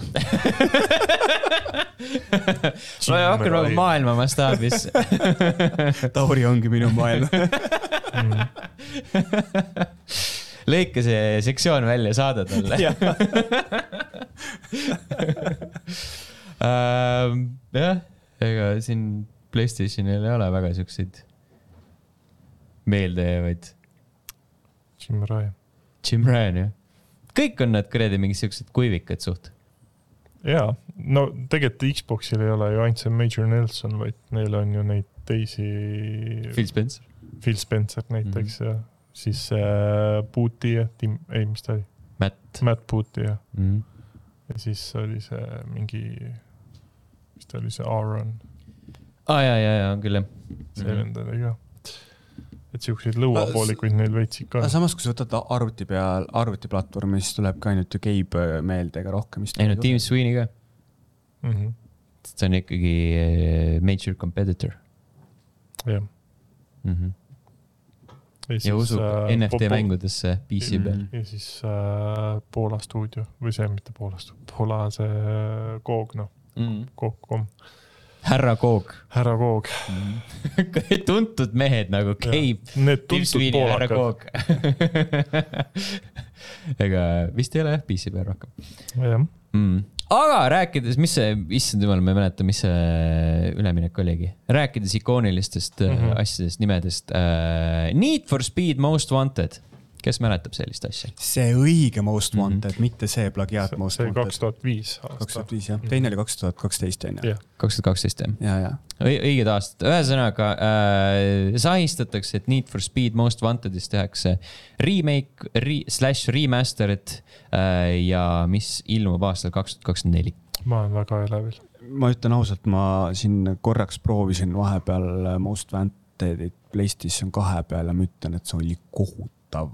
Speaker 1: ma ei hakka nagu maailma mastaabis
Speaker 3: Tauri ongi minu maailm .
Speaker 2: Mm,
Speaker 1: lõika see sektsioon välja , saada talle . Ähm, jah , ega siin Playstationil ei ole väga siukseid meeldejäävaid .
Speaker 2: Jim Ryan .
Speaker 1: Jim Ryan jah , kõik on nad kuradi mingid siuksed kuivikad suht .
Speaker 2: jaa , no tegelikult Xbox'il ei ole ju ainult see Major Nelson , vaid neil on ju neid teisi ,
Speaker 1: Phil Mhm. Spencer .
Speaker 2: Phil Spencer näiteks ja siis äh, Booty ja Tim , ei , mis ta oli ,
Speaker 1: Matt
Speaker 2: Matt Booty ja ,
Speaker 1: mm. .
Speaker 2: ja siis oli see mingi , mis ta oli , see Aaron ,
Speaker 1: aa ah, ja , ja , ja on küll jah .
Speaker 2: see
Speaker 1: Mhm.
Speaker 2: vend oli ka . et siukseid lõuapoolikuid neil veits ikka
Speaker 3: aga
Speaker 2: on .
Speaker 3: samas , kui sa võtad arvuti peal , arvutiplatvormi , siis tuleb ka ainult ju Gabe äh, meelde , ega rohkem vist
Speaker 1: ei no Tim Sweeney ka ,
Speaker 2: Mhm.
Speaker 1: see on ikkagi eh, major competitor
Speaker 2: jah .
Speaker 1: mm . -hmm.
Speaker 2: ja
Speaker 1: ja usub äh, NFT . mängudesse PC peal .
Speaker 2: ja siis äh, Poola stuudio või see mitte Poola stuudio , Poola see äh, Koog noh ,
Speaker 1: mm. .
Speaker 2: Koog.com ,
Speaker 1: härra Koog
Speaker 2: härra Koog .
Speaker 1: tuntud mehed nagu Keip ,
Speaker 2: Need
Speaker 1: Tim
Speaker 2: tuntud
Speaker 1: Sweeney , härra
Speaker 2: poolakad ,
Speaker 1: Koog ega vist ei ole jah , PC peal rohkem
Speaker 2: jah ,
Speaker 1: mm. . aga rääkides , mis see , issand jumal , ma ei mäleta , mis see üleminek oligi . rääkides ikoonilistest mm
Speaker 2: Mhm.
Speaker 1: -hmm. asjadest , nimedest äh, . Need for Speed Most Wanted , kes mäletab sellist asja ?
Speaker 3: see õige Most Wanted mm , -hmm. mitte see plagiaat
Speaker 2: see
Speaker 3: Most
Speaker 2: see kaks
Speaker 3: Wanted .
Speaker 2: tuhat viis
Speaker 3: kaks
Speaker 2: aasta
Speaker 3: tuhat . viis jah , teine oli kaks tuhat kaksteist on ju .
Speaker 2: jah ,
Speaker 1: kaks tuhat kaksteist jah ?
Speaker 3: ja , ja .
Speaker 1: Õi- õiged aastad , ühesõnaga äh, sahistatakse , et Need for Speed Most Wanted'is tehakse remake re, , slash remastered äh, ja mis ilmub aastal kaks tuhat kakskümmend neli .
Speaker 2: ma olen väga elevil .
Speaker 3: ma ütlen ausalt , ma siin korraks proovisin vahepeal Most Wanted'it PlayStation kahe peal ja ma ütlen , et see oli kohutav .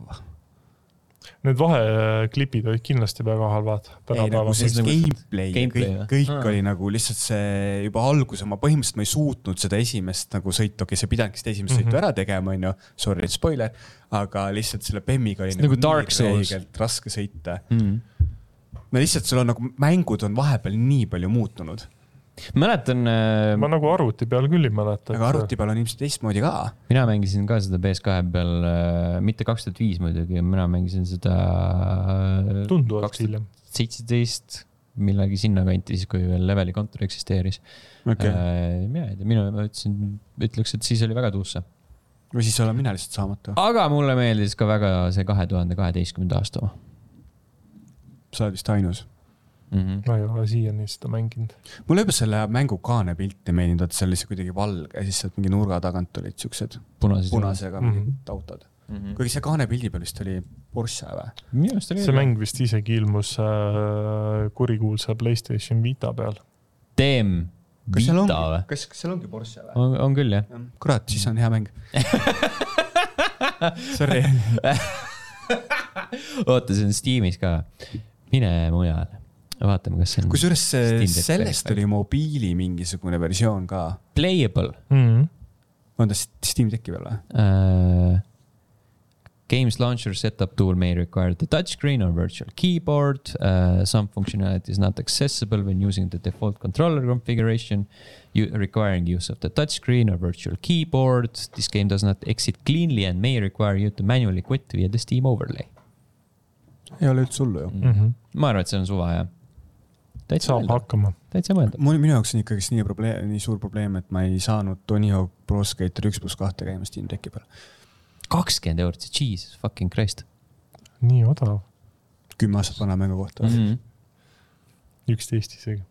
Speaker 2: Need vaheklipid olid kindlasti väga halvad
Speaker 3: ei nagu see
Speaker 2: tänapäeval .
Speaker 3: gameplay,
Speaker 1: Gameplay,
Speaker 3: gameplay ,
Speaker 1: jah.
Speaker 3: kõik , kõik
Speaker 1: Aa.
Speaker 3: oli nagu lihtsalt see juba alguse , ma põhimõtteliselt ma ei suutnud seda esimest nagu sõitu , okei okay, , sa pidanudki seda esimest mm -hmm.
Speaker 2: Mhm.
Speaker 3: sõitu ära tegema , onju . Sorry , spoiler , aga lihtsalt selle bemmiga oli
Speaker 1: See on nagu Dark
Speaker 3: nii
Speaker 1: Souls.
Speaker 3: räigelt raske sõita .
Speaker 1: Mm.
Speaker 3: no lihtsalt sul on nagu mängud on vahepeal nii palju muutunud ,
Speaker 1: mäletan äh, ,
Speaker 2: ma nagu arvuti peal küll ei mäleta .
Speaker 3: aga arvuti peal on ilmselt teistmoodi ka .
Speaker 1: mina mängisin ka seda PS2 peal äh, , mitte kaks tuhat viis muidugi , mina mängisin seda äh,
Speaker 2: tunduvalt hiljem .
Speaker 1: seitseteist , millegi sinnakanti , siis kui veel leveli kontor eksisteeris
Speaker 3: Okei.
Speaker 1: äh, . mina ei tea , mina ma ütlesin , ütleks , et siis oli väga tuusse .
Speaker 3: või siis olen mina lihtsalt saamatu .
Speaker 1: aga mulle meeldis ka väga see kahe tuhande kaheteistkümnenda aasta oma
Speaker 3: sa oled vist ainus .
Speaker 1: mm . -hmm.
Speaker 2: ma ei ole siiani seda mänginud .
Speaker 3: mulle juba selle mängu kaane pilt ei meeldinud , vaata see oli see kuidagi valge ja siis sealt mingi nurga tagant olid siuksed
Speaker 1: punases .
Speaker 3: punasega
Speaker 2: Mhm.
Speaker 3: mingid autod .
Speaker 1: mm .
Speaker 3: kuigi see kaane pildi peal vist oli Porsche või ?
Speaker 1: -hmm. minu arust oli
Speaker 2: see . mäng vist isegi ilmus äh, kurikuulsa Playstation Vita peal .
Speaker 1: Teem
Speaker 3: kas seal
Speaker 1: Vita
Speaker 3: ongi
Speaker 1: või ?,
Speaker 3: kas , kas seal ongi Porsche või ?
Speaker 1: on , Mhm. on küll jah .
Speaker 3: kurat , siis on hea mäng . Sorry ,
Speaker 1: oota , see on Steamis ka . mine mujale , vaatame , kas see on
Speaker 3: kusjuures see-
Speaker 1: Steam Deck
Speaker 3: sellest oli mobiili mingisugune versioon ka .
Speaker 1: playable
Speaker 2: mm .
Speaker 3: on ta Steam Decki peal või ?
Speaker 1: uh, . Games launcher setup tool may require the touchscreen or virtual keyboard uh, . Some functionality is not accessible when using the default controller configuration you, . Requiring use of the touchscreen or virtual keyboard . This game does not exit cleanly and may require you to manually quit via the Steam overlay .
Speaker 3: ei ole üldse hullu ju .
Speaker 2: -hmm.
Speaker 1: ma arvan , et see on suva ja . täitsa
Speaker 2: saab
Speaker 1: mõeldav ,
Speaker 2: hakkama .
Speaker 1: täitsa mõeldav .
Speaker 3: mul , minu jaoks on ikkagist nii probleem , nii suur probleem , et ma ei saanud Tony Hawk Pro Skater üks pluss kahte käima Steam Decki peal .
Speaker 1: kakskümmend eurot , jesus fucking christ
Speaker 2: nii odav ,
Speaker 3: kümme aastat vana mängu kohta
Speaker 1: mm .
Speaker 3: mm .
Speaker 1: -hmm.
Speaker 2: üksteist isegi .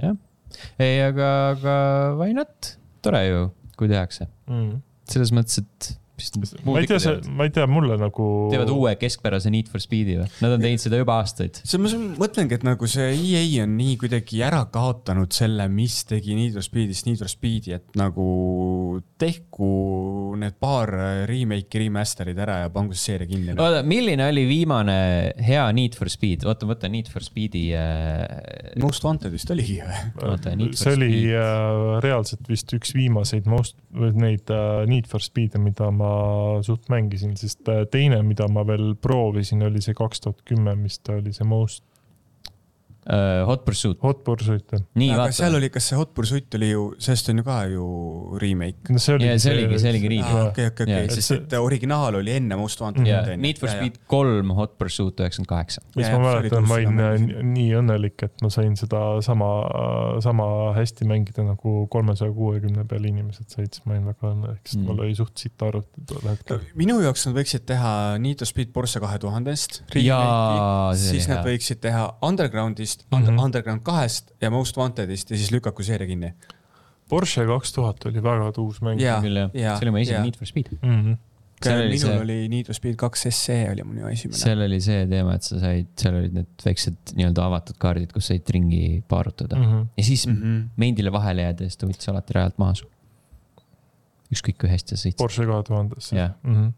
Speaker 1: jah , ei , aga , aga why not , tore ju , kui tehakse , selles mõttes , et mis nad
Speaker 2: ma
Speaker 1: muud
Speaker 2: ei tea ,
Speaker 1: ikka
Speaker 2: see
Speaker 1: teevad ,,
Speaker 2: ma ei tea , mulle nagu .
Speaker 1: teevad uue keskpärase Need for Speed'i või , nad on teinud seda juba aastaid .
Speaker 3: see , ma s- mõtlengi , et nagu see EA on nii kuidagi ära kaotanud selle , mis tegi Need for Speedist Need for Speedi , et nagu tehku need paar remake'i , remaster'id ära ja pangu see seeria kinni .
Speaker 1: oota , milline oli viimane hea Need for Speed , oota , ma võtan Need for Speed'i äh... .
Speaker 3: Most Wanted vist oligi või ?
Speaker 1: oota , Need for
Speaker 2: see oli
Speaker 1: Speed ,
Speaker 2: äh, reaalselt vist üks viimaseid most , neid äh, Need for Speed'e , mida ma suht mängisin , sest äh, teine , mida ma veel proovisin , oli see kaks tuhat kümme , mis ta oli see most
Speaker 1: uh, Hot Pursuit ,
Speaker 2: hot pursuit .
Speaker 1: nii
Speaker 3: aga seal
Speaker 1: vaata .
Speaker 3: oli , kas see Hot Pursuit oli ju , sellest on ju ka ju remake .
Speaker 2: no see
Speaker 1: ja see oligi , see oligi riigi
Speaker 2: Jaa.
Speaker 3: okei , okei ,
Speaker 1: Jaa.
Speaker 3: okei , sest et originaal oli enne Most Wanted .
Speaker 1: ja Need for Speed kolm , Hot Pursuit üheksakümmend kaheksa .
Speaker 2: mis
Speaker 3: Jaa,
Speaker 2: ma
Speaker 3: see oli
Speaker 2: mäletan ,
Speaker 3: tõesti
Speaker 2: ma olin
Speaker 3: väga
Speaker 2: äh,
Speaker 3: meeldiv.
Speaker 2: nii õnnelik , et ma sain seda sama , sama hästi mängida nagu kolmesaja kuuekümne peal inimesed said , siis ma olin väga õnnelik , sest
Speaker 1: Mm.
Speaker 2: mul oli suht sitt arvuti tol hetkel .
Speaker 3: minu jaoks nad võiksid teha Need for Speed Porsche kahe tuhandest .
Speaker 1: Jaa, see oli
Speaker 3: siis nad
Speaker 1: hea.
Speaker 3: võiksid teha Undergroundist mm ,
Speaker 2: Mhm.
Speaker 3: -hmm. Underground kahest ja Most Wantedist ja siis lükaku seeria kinni .
Speaker 2: Porsche kaks tuhat oli väga tuus mäng .
Speaker 3: Jaa,
Speaker 1: küll jah ,
Speaker 3: jaa,
Speaker 1: see oli mu esimene
Speaker 3: jaa.
Speaker 1: Need for Speed .
Speaker 2: Mm -hmm.
Speaker 1: seal oli
Speaker 3: minul see...
Speaker 1: see ,
Speaker 3: oli Need for Speed kaks SE oli minu esimene .
Speaker 1: seal oli see teema , et sa said , seal olid need väiksed nii-öelda avatud kaardid , kus said ringi paarutada .
Speaker 2: Mm -hmm.
Speaker 1: ja siis mm -hmm.
Speaker 3: -hmm.
Speaker 1: meindile vahele jääda ja siis ta võttis alati rajalt maha su . ükskõik kui hästi sa sõitsid .
Speaker 2: Porsche kahe tuhandes Mhm.
Speaker 1: Jah. .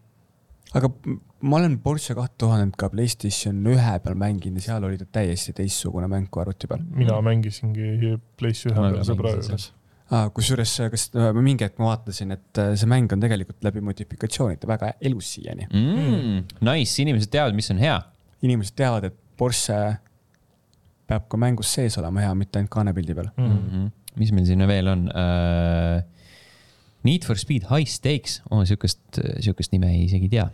Speaker 3: aga m- ma olen Porsche kaht tuhandet ka Playstation ühe peal mänginud ja seal oli ta täiesti teistsugune mäng kui arvuti peal .
Speaker 2: mina mängisingi PlayStation ühe
Speaker 1: Ma
Speaker 2: peal
Speaker 1: ka
Speaker 2: sõbra
Speaker 1: mängisin
Speaker 2: juures .
Speaker 3: Ah, kusjuures , kas äh, ma mingi hetk ma vaatasin , et äh, see mäng on tegelikult läbi modifikatsioonide väga elus siiani .
Speaker 1: Mm, nice , inimesed teavad , mis on hea .
Speaker 3: inimesed teavad , et Porsche peab ka mängus sees olema hea , mitte ainult kaanepildi peal .
Speaker 2: Mm.
Speaker 1: Mhm.
Speaker 2: Mhm.
Speaker 1: mis meil siin veel on uh, ? Need for Speed High Stakes oh, , sihukest , sihukest nime ei isegi tea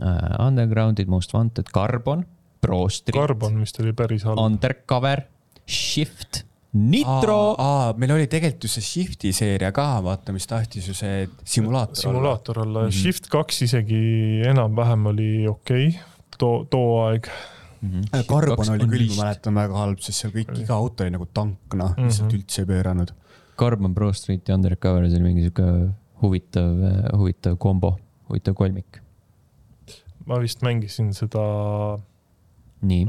Speaker 1: uh, . Undergroundid , Most Wanted , Carbon , Pro Street ,
Speaker 2: Carbon vist oli päris halb .
Speaker 1: Undercover , Shift , Nitro .
Speaker 3: meil oli tegelikult ju see Shifti seeria ka , vaata , mis tahtis ju see simulaator,
Speaker 2: simulaator olla ja Shift kaks isegi enam-vähem oli okei okay. , too , too aeg .
Speaker 1: Mhm.
Speaker 3: olla . Äh, Carbon oli küll , ma mäletan , väga halb , sest seal kõik , iga auto oli nagu tank , noh ,
Speaker 2: Mhm.
Speaker 3: lihtsalt üldse ei pööranud .
Speaker 1: Carbon Pro Street ja Undercover , see oli mingi sihuke huvitav , huvitav kombo , huvitav kolmik .
Speaker 2: ma vist mängisin seda
Speaker 1: nii ,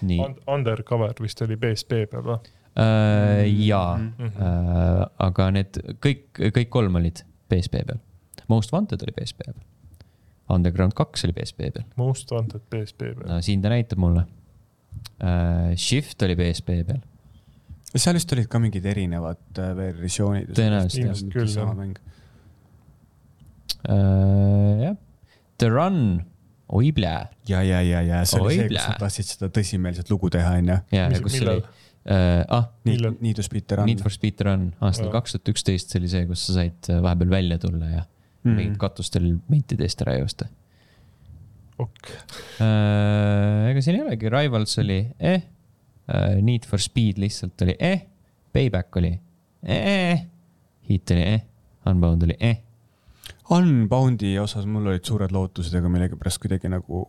Speaker 1: nii
Speaker 2: Und- Undercover vist oli PSP peal Mhm. või ?
Speaker 3: Äh,
Speaker 1: uh, .
Speaker 3: Mm-hmm.
Speaker 1: jaa
Speaker 3: Mhm.
Speaker 1: uh, , aga need kõik , kõik kolm olid PSP peal . Most Wanted oli PSP peal . Underground kaks oli PSP peal ,
Speaker 2: Most Wanted PSP peal .
Speaker 1: no siin ta näitab mulle uh, . Shift oli PSP peal ,
Speaker 3: seal vist olid ka mingid erinevad äh, versioonid .
Speaker 1: Tõenäoliselt, jah.
Speaker 2: Ilmselt küll, jah.
Speaker 3: jah .
Speaker 1: uh, jah . The Run , oi plee .
Speaker 3: ja , ja , ja , ja see oli
Speaker 1: Oi,
Speaker 3: see , kus
Speaker 1: plää.
Speaker 3: nad tahtsid seda tõsimeelset lugu teha , onju .
Speaker 1: ja ,
Speaker 2: Mis-
Speaker 1: ja kus
Speaker 2: millal?
Speaker 1: oli uh, , ah
Speaker 2: Millal?
Speaker 3: Need , Need to Speed the
Speaker 1: Need
Speaker 3: Run .
Speaker 1: for Speed Run aastal
Speaker 2: Jaa.
Speaker 1: kaks tuhat üksteist , see oli see , kus sa said äh, vahepeal välja tulla ja mm.
Speaker 3: Mhm.
Speaker 1: mingid katustel mentidest ära joosta .
Speaker 2: ok ,
Speaker 1: Äh, ega siin ei olegi , Rivals oli eh , Need for Speed lihtsalt oli eh , Payback oli eh , Hit oli eh , Unbound oli eh .
Speaker 3: Unboundi osas mul olid suured lootused , aga millegipärast kuidagi nagu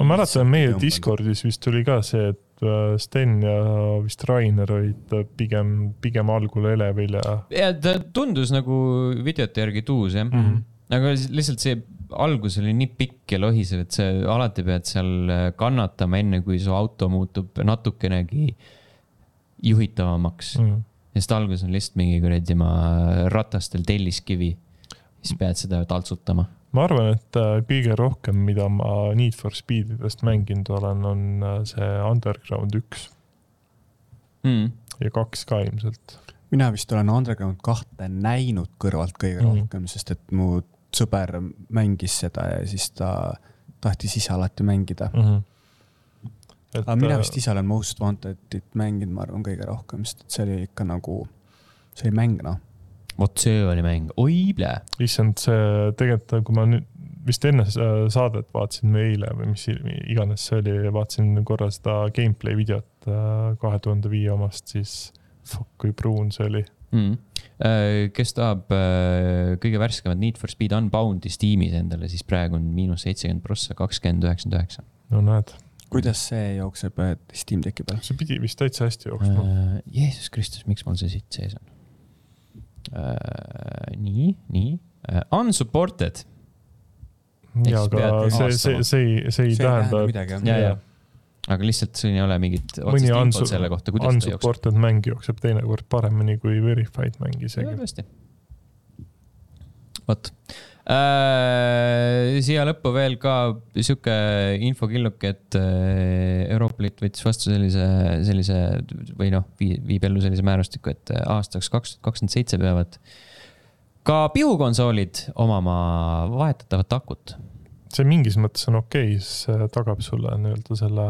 Speaker 2: ma mäletan , meie
Speaker 3: tõmbanud.
Speaker 2: Discordis vist tuli ka see , et äh, Sten ja vist Rainer olid äh, pigem , pigem algul elevil ja
Speaker 1: ja ta tundus nagu videote järgi tuus jah mm , -hmm. aga li- lihtsalt see algus oli nii pikk ja lohisev , et sa äh, alati pead seal kannatama , enne kui su auto muutub natukenegi juhitavamaks mm. . sest alguses on lihtsalt mingi kuradi ma ratastel telliskivi . siis pead seda taltsutama .
Speaker 2: ma arvan , et äh, kõige rohkem , mida ma Need for Speedidest mänginud olen , on äh, see Underground üks
Speaker 1: Mm.
Speaker 2: ja kaks ka ilmselt .
Speaker 3: mina vist olen Underground kahte näinud kõrvalt kõige
Speaker 2: Mhm.
Speaker 3: rohkem , sest et mu sõber mängis seda ja siis ta tahtis ise alati mängida .
Speaker 1: Mhm.
Speaker 3: aga
Speaker 2: äh,
Speaker 3: mina vist ise olen Most Wanted'it mänginud , ma arvan , kõige rohkem , sest et see oli ikka nagu , see oli mäng noh .
Speaker 1: vot see oli mäng , oi plee .
Speaker 2: issand , see tegelikult , kui ma nüüd vist enne s- saadet vaatasin või eile või mis i- iganes see oli , vaatasin korra seda gameplay videot äh, kahe tuhande viie omast , siis fuck kui pruun see oli .
Speaker 1: Mm. Äh, kes tahab äh, kõige värskemat Need for Speed Unbound'i Steamis endale , siis praegu on miinus seitsekümmend prossa , kakskümmend üheksakümmend üheksa .
Speaker 2: no näed ,
Speaker 3: kuidas see jookseb eh, Steam Decki peal ?
Speaker 2: see pidi vist täitsa hästi jooksma mm. .
Speaker 1: Äh, Jeesus Kristus , miks mul see siit sees on äh, ? nii , nii äh, , unsupported .
Speaker 2: ja
Speaker 1: Eks
Speaker 2: aga
Speaker 1: pead
Speaker 2: see ,
Speaker 1: avastama.
Speaker 2: see , see ei , see ei tähenda , et
Speaker 1: ja ,
Speaker 3: midagi , jah .
Speaker 1: ja
Speaker 2: Jaa. ,
Speaker 1: aga lihtsalt siin ei ole mingit otsest
Speaker 2: mõni
Speaker 1: infot
Speaker 2: unsu-
Speaker 1: selle kohta , kuidas ta jookseb .
Speaker 2: unsupported mäng jookseb teinekord paremini kui verified mäng isegi .
Speaker 1: tõesti . vot . siia lõppu veel ka sihuke infokilluke , et äh, Euroopa Liit võttis vastu sellise , sellise või noh , viib , viib ellu sellise määrustiku , et äh, aastaks kaks tuhat kakskümmend seitse peavad ka pihukonsoolid omama vahetatavat akut .
Speaker 2: see mingis mõttes on okei okay, , see tagab sulle nii-öelda selle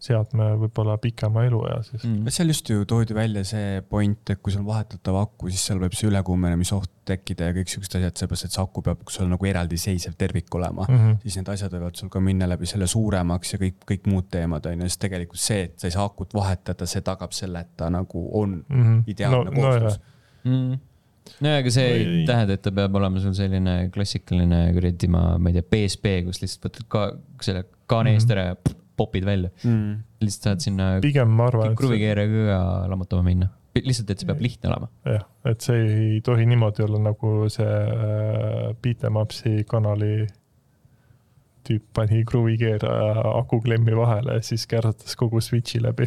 Speaker 2: seadme võib-olla pikema eluea siis .
Speaker 3: seal just ju toodi välja see point , et kui sul on vahetatav aku , siis seal võib see ülekuumenemisoht tekkida ja kõik siuksed asjad , sellepärast et see aku peab sul nagu eraldiseisev tervik olema .
Speaker 2: Mm -hmm.
Speaker 3: siis need asjad võivad sul ka minna läbi selle suuremaks ja kõik , kõik muud teemad on ju , sest tegelikult see , et sa ei saa akut vahetada , see tagab selle , et ta nagu on
Speaker 2: mm -hmm.
Speaker 3: ideaalne kooslus .
Speaker 1: mm. . no aga see ei,
Speaker 2: Ei-
Speaker 1: ei tähenda , et ta peab olema sul selline klassikaline kuradi , ma , ma ei tea , PSP , kus lihtsalt võtad ka selle kaane eest ära ja p- popid välja .
Speaker 3: Mm.
Speaker 1: lihtsalt saad sinna
Speaker 2: pigem ma arvan , et see,
Speaker 1: kruvikeerajaga lammutama minna . lihtsalt , et see peab lihtne olema .
Speaker 2: jah , et see ei tohi niimoodi olla nagu see äh, Beat em ups'i kanali tüüp pani kruvikeeraja aku klemmi vahele ja siis kärsatas kogu switch'i läbi .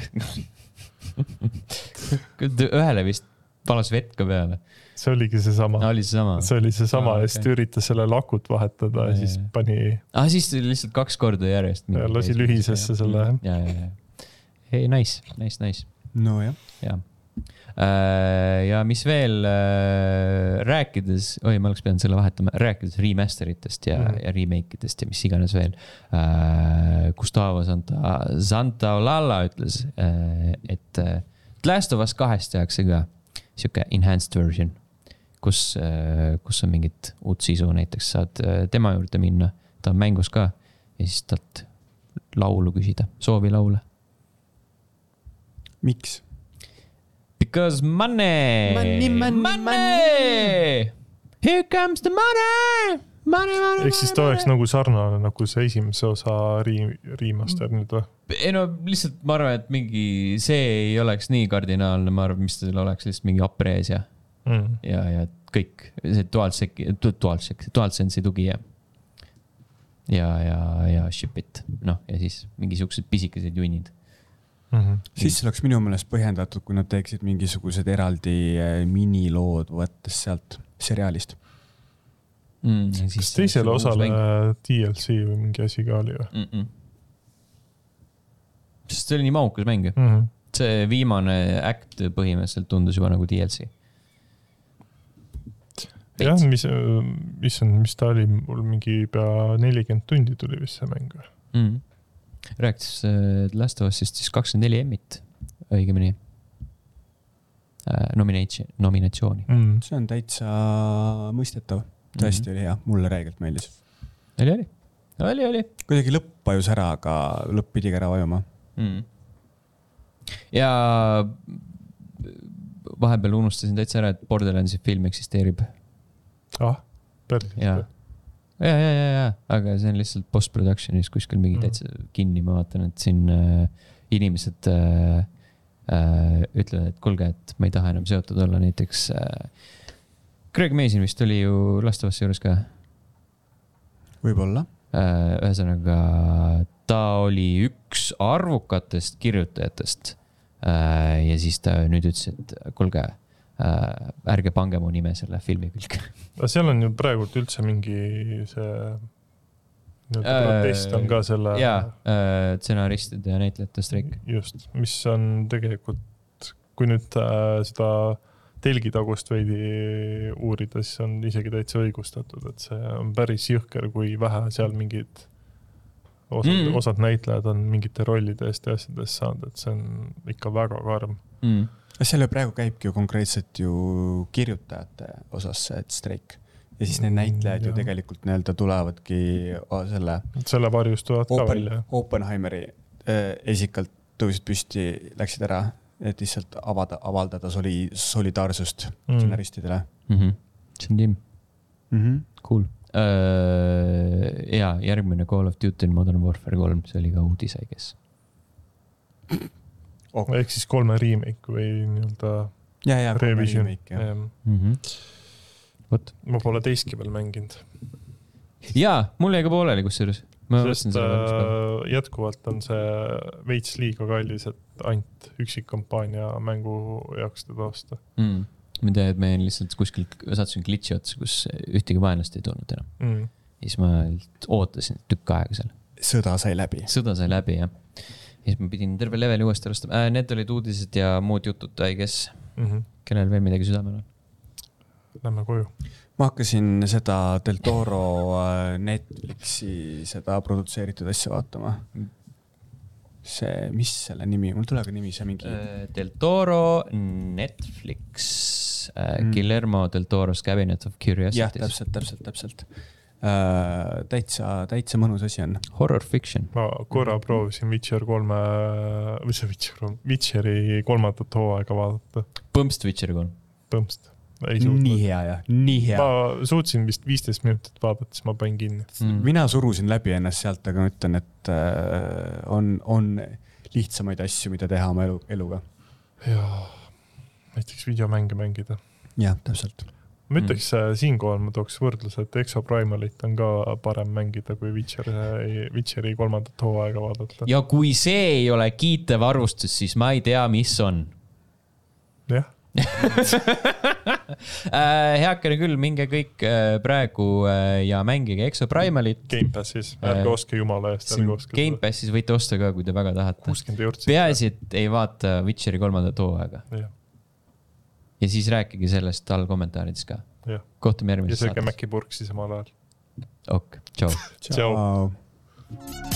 Speaker 1: ühele vist palas vett ka peale .
Speaker 2: see oligi seesama ,
Speaker 1: oli seesama ?
Speaker 2: see oli seesama
Speaker 1: Aa,
Speaker 2: ja siis
Speaker 1: okei.
Speaker 2: ta üritas sellele akut vahetada ja siis
Speaker 1: Jaa.
Speaker 2: pani ,
Speaker 1: ah , siis tuli lihtsalt kaks korda järjest .
Speaker 2: Ja lasi lühisesse selle, jah.
Speaker 1: ja , ja , ja . ei , nice , nice , nice ,
Speaker 3: nojah ,
Speaker 1: jaa . Äh, ja mis veel , rääkides , oi , ma oleks pidanud selle vahetama , rääkides remaster itest ja
Speaker 2: Mhm.
Speaker 1: mm. , ja remake idest ja mis iganes veel . Gustavo Santa , Santaolalla ütles , et äh, Last of Us kahest tehakse ka sihuke enhanced version , kus , kus on mingit uut sisu , näiteks saad äh, tema juurde minna , ta on mängus ka ja siis talt laulu küsida , soovilaule .
Speaker 3: miks ?
Speaker 1: Because money.
Speaker 3: Money, money, money.
Speaker 1: Here comes the money . Money , money .
Speaker 2: ehk siis ta oleks nagu sarnane nagu see esimese osa re- , remaster nüüd või ?
Speaker 1: ei no lihtsalt ma arvan , et mingi see ei oleks nii kardinaalne , ma arvan , mis tal oleks lihtsalt mingi aprees ja ,
Speaker 2: Mm.
Speaker 1: ja , ja kõik see DualSec , DualSec , DualSense'i tugi ja . ja , ja , ja Shipit , noh ja siis mingi siuksed pisikesed junnid .
Speaker 2: Mm -hmm.
Speaker 3: siis see oleks minu meelest põhjendatud , kui nad teeksid mingisugused eraldi eh, minilood , võttes sealt seriaalist .
Speaker 1: mm, .
Speaker 2: kas teisele osale ? DLC või mingi asi ka oli või
Speaker 1: Mm -mm. sest see oli nii mahukas mäng ju .
Speaker 2: mm ? -hmm.
Speaker 1: see viimane äkt põhimõtteliselt tundus juba nagu DLC .
Speaker 2: jah , mis , issand , mis ta oli , mul mingi pea nelikümmend tundi tuli vist see mäng .
Speaker 1: mm. . rääkis äh, Last of Us'ist siis kakskümmend neli M-it , õigemini äh, . Nominatsioon , nominatsiooni .
Speaker 2: Mm.
Speaker 3: see on täitsa mõistetav ,
Speaker 1: Mm.
Speaker 3: tõesti oli hea , mulle räigelt meeldis .
Speaker 1: oli , oli , oli , oli
Speaker 3: kuidagi lõpp vajus ära , aga lõpp pidi ka ära vajuma .
Speaker 1: mm. . ja vahepeal unustasin täitsa ära , et Borderlandsi film eksisteerib
Speaker 2: ah , päris
Speaker 1: ja , ja , ja , ja , ja , aga see on lihtsalt post-production'is kuskil mingi
Speaker 2: Mhm.
Speaker 1: täitsa kinni , ma vaatan , et siin äh, inimesed äh, äh, ütlevad , et kuulge , et ma ei taha enam seotud olla näiteks äh, . Greg Mason vist oli ju lastevasse juures ka
Speaker 3: võib-olla .
Speaker 1: äh, . ühesõnaga , ta oli üks arvukatest kirjutajatest Äh, ja siis ta nüüd ütles , et kuulge , ärge pange mu nime selle filmi külge .
Speaker 2: aga seal on ju praegult üldse mingi see nii-öelda
Speaker 1: Äh,
Speaker 2: protest on ka selle ,
Speaker 1: ja äh, stsenaristide ja näitlejate streik .
Speaker 2: just , mis on tegelikult , kui nüüd äh, seda telgitagust veidi uurida , siis on isegi täitsa õigustatud , et see on päris jõhker , kui vähe seal mingid osad
Speaker 1: Mm.
Speaker 2: mm. , osad näitlejad on mingite rollide eest ja asjade eest saanud , et see on ikka väga karm .
Speaker 1: Mm.
Speaker 3: selle praegu käibki ju konkreetselt ju kirjutajate osas see streik ja siis need
Speaker 2: Mm,
Speaker 3: näitlejad ju
Speaker 2: jah.
Speaker 3: tegelikult nii-öelda tulevadki o- selle
Speaker 2: selle varjus tulevad ka
Speaker 3: Open,
Speaker 2: välja .
Speaker 3: Oppenheimeri eh, esikalt tõusid püsti , läksid ära , et lihtsalt avada , avaldada soli- , solidaarsust
Speaker 2: Mm.
Speaker 3: stsenaristidele
Speaker 1: Mm -hmm. see on Tim ,
Speaker 3: mm . -hmm.
Speaker 1: cool . ja Äh, järgmine Call of Duty on Modern Warfare kolm , see oli ka uudis , I guess .
Speaker 2: ehk siis kolme remake või nii-öelda
Speaker 3: ja , ja .
Speaker 2: revision .
Speaker 1: Mm vot ,
Speaker 2: ma pole teistki veel mänginud ,
Speaker 1: jaa , mul jäi ka pooleli kusjuures . ma
Speaker 2: sest
Speaker 1: mõtlesin selle peale .
Speaker 2: äh, jätkuvalt on see veits liiga kallis , et ainult üksikkampaania mängu jaoks teda osta
Speaker 1: mm. . ma tean , et meil lihtsalt kuskil sattusin glitch'i otsa , kus ühtegi vaenlast ei tulnud enam .
Speaker 2: mm. .
Speaker 1: siis ma ootasin tükk aega seal .
Speaker 3: sõda sai läbi .
Speaker 1: sõda sai läbi jah . ja siis ma pidin terve leveli uuesti alustama äh, . Need olid uudised ja muud jutud , I guess .
Speaker 2: Mm
Speaker 3: mhm.
Speaker 2: -hmm.
Speaker 1: kellel veel midagi südamel on ?
Speaker 2: Lähme koju .
Speaker 3: ma hakkasin seda Del Toro äh, Netflixi seda produtseeritud asja vaatama . see , mis selle nimi , mul ei tule ka nimi , see mingi äh,
Speaker 1: Del Toro , Netflix mm. ,
Speaker 3: Mm.
Speaker 1: Guillermo del Toro's Cabinet of
Speaker 3: jah ,
Speaker 1: Curiosities .
Speaker 3: täpselt , täpselt , täpselt äh, . täitsa , täitsa mõnus asi on .
Speaker 1: Horror fiction .
Speaker 2: ma korra
Speaker 3: Mhm.
Speaker 2: proovisin Witcher kolme , või see Witcher kolm , Witcheri kolmandat hooaega vaadata ,
Speaker 1: põmps Twitcheri kolm .
Speaker 2: põhimõtteliselt . ei
Speaker 3: nii
Speaker 2: suutnud .
Speaker 3: hea ja nii hea .
Speaker 2: ma suutsin vist viisteist minutit vaadata , siis ma panin kinni .
Speaker 1: Mm.
Speaker 3: mina surusin läbi ennast sealt , aga ma ütlen , et äh, on , on lihtsamaid asju , mida teha oma elu , eluga .
Speaker 2: jaa , näiteks videomänge mängida .
Speaker 3: jah , täpselt .
Speaker 2: ma ütleks mm. siinkohal ma tooks võrdluse , et Exoprimalit on ka parem mängida kui Witcher , Witcheri kolmandat hooaega vaadata .
Speaker 1: ja kui see ei ole kiitev arvustus , siis ma ei tea , mis on
Speaker 2: jah ,
Speaker 1: Äh, heakene küll , minge kõik äh, praegu äh, ja mängige Exoprimalit .
Speaker 2: Gamepassis , ärge
Speaker 1: Äh,
Speaker 2: ostke jumala eest , ärge ostke seda .
Speaker 1: Gamepassis võite osta ka , kui te väga tahate .
Speaker 2: kuuskümmend eurtsi .
Speaker 1: peaasi , et ei vaata Witcheri kolmandat hooaega
Speaker 2: jah ,
Speaker 1: ja siis rääkige sellest all kommentaarides ka .
Speaker 2: jah ,
Speaker 1: kohtume
Speaker 2: ja
Speaker 1: järgmises
Speaker 2: sööge
Speaker 1: saates .
Speaker 2: Maci purksi samal ajal .
Speaker 1: ok , tšau .
Speaker 2: Tšau. .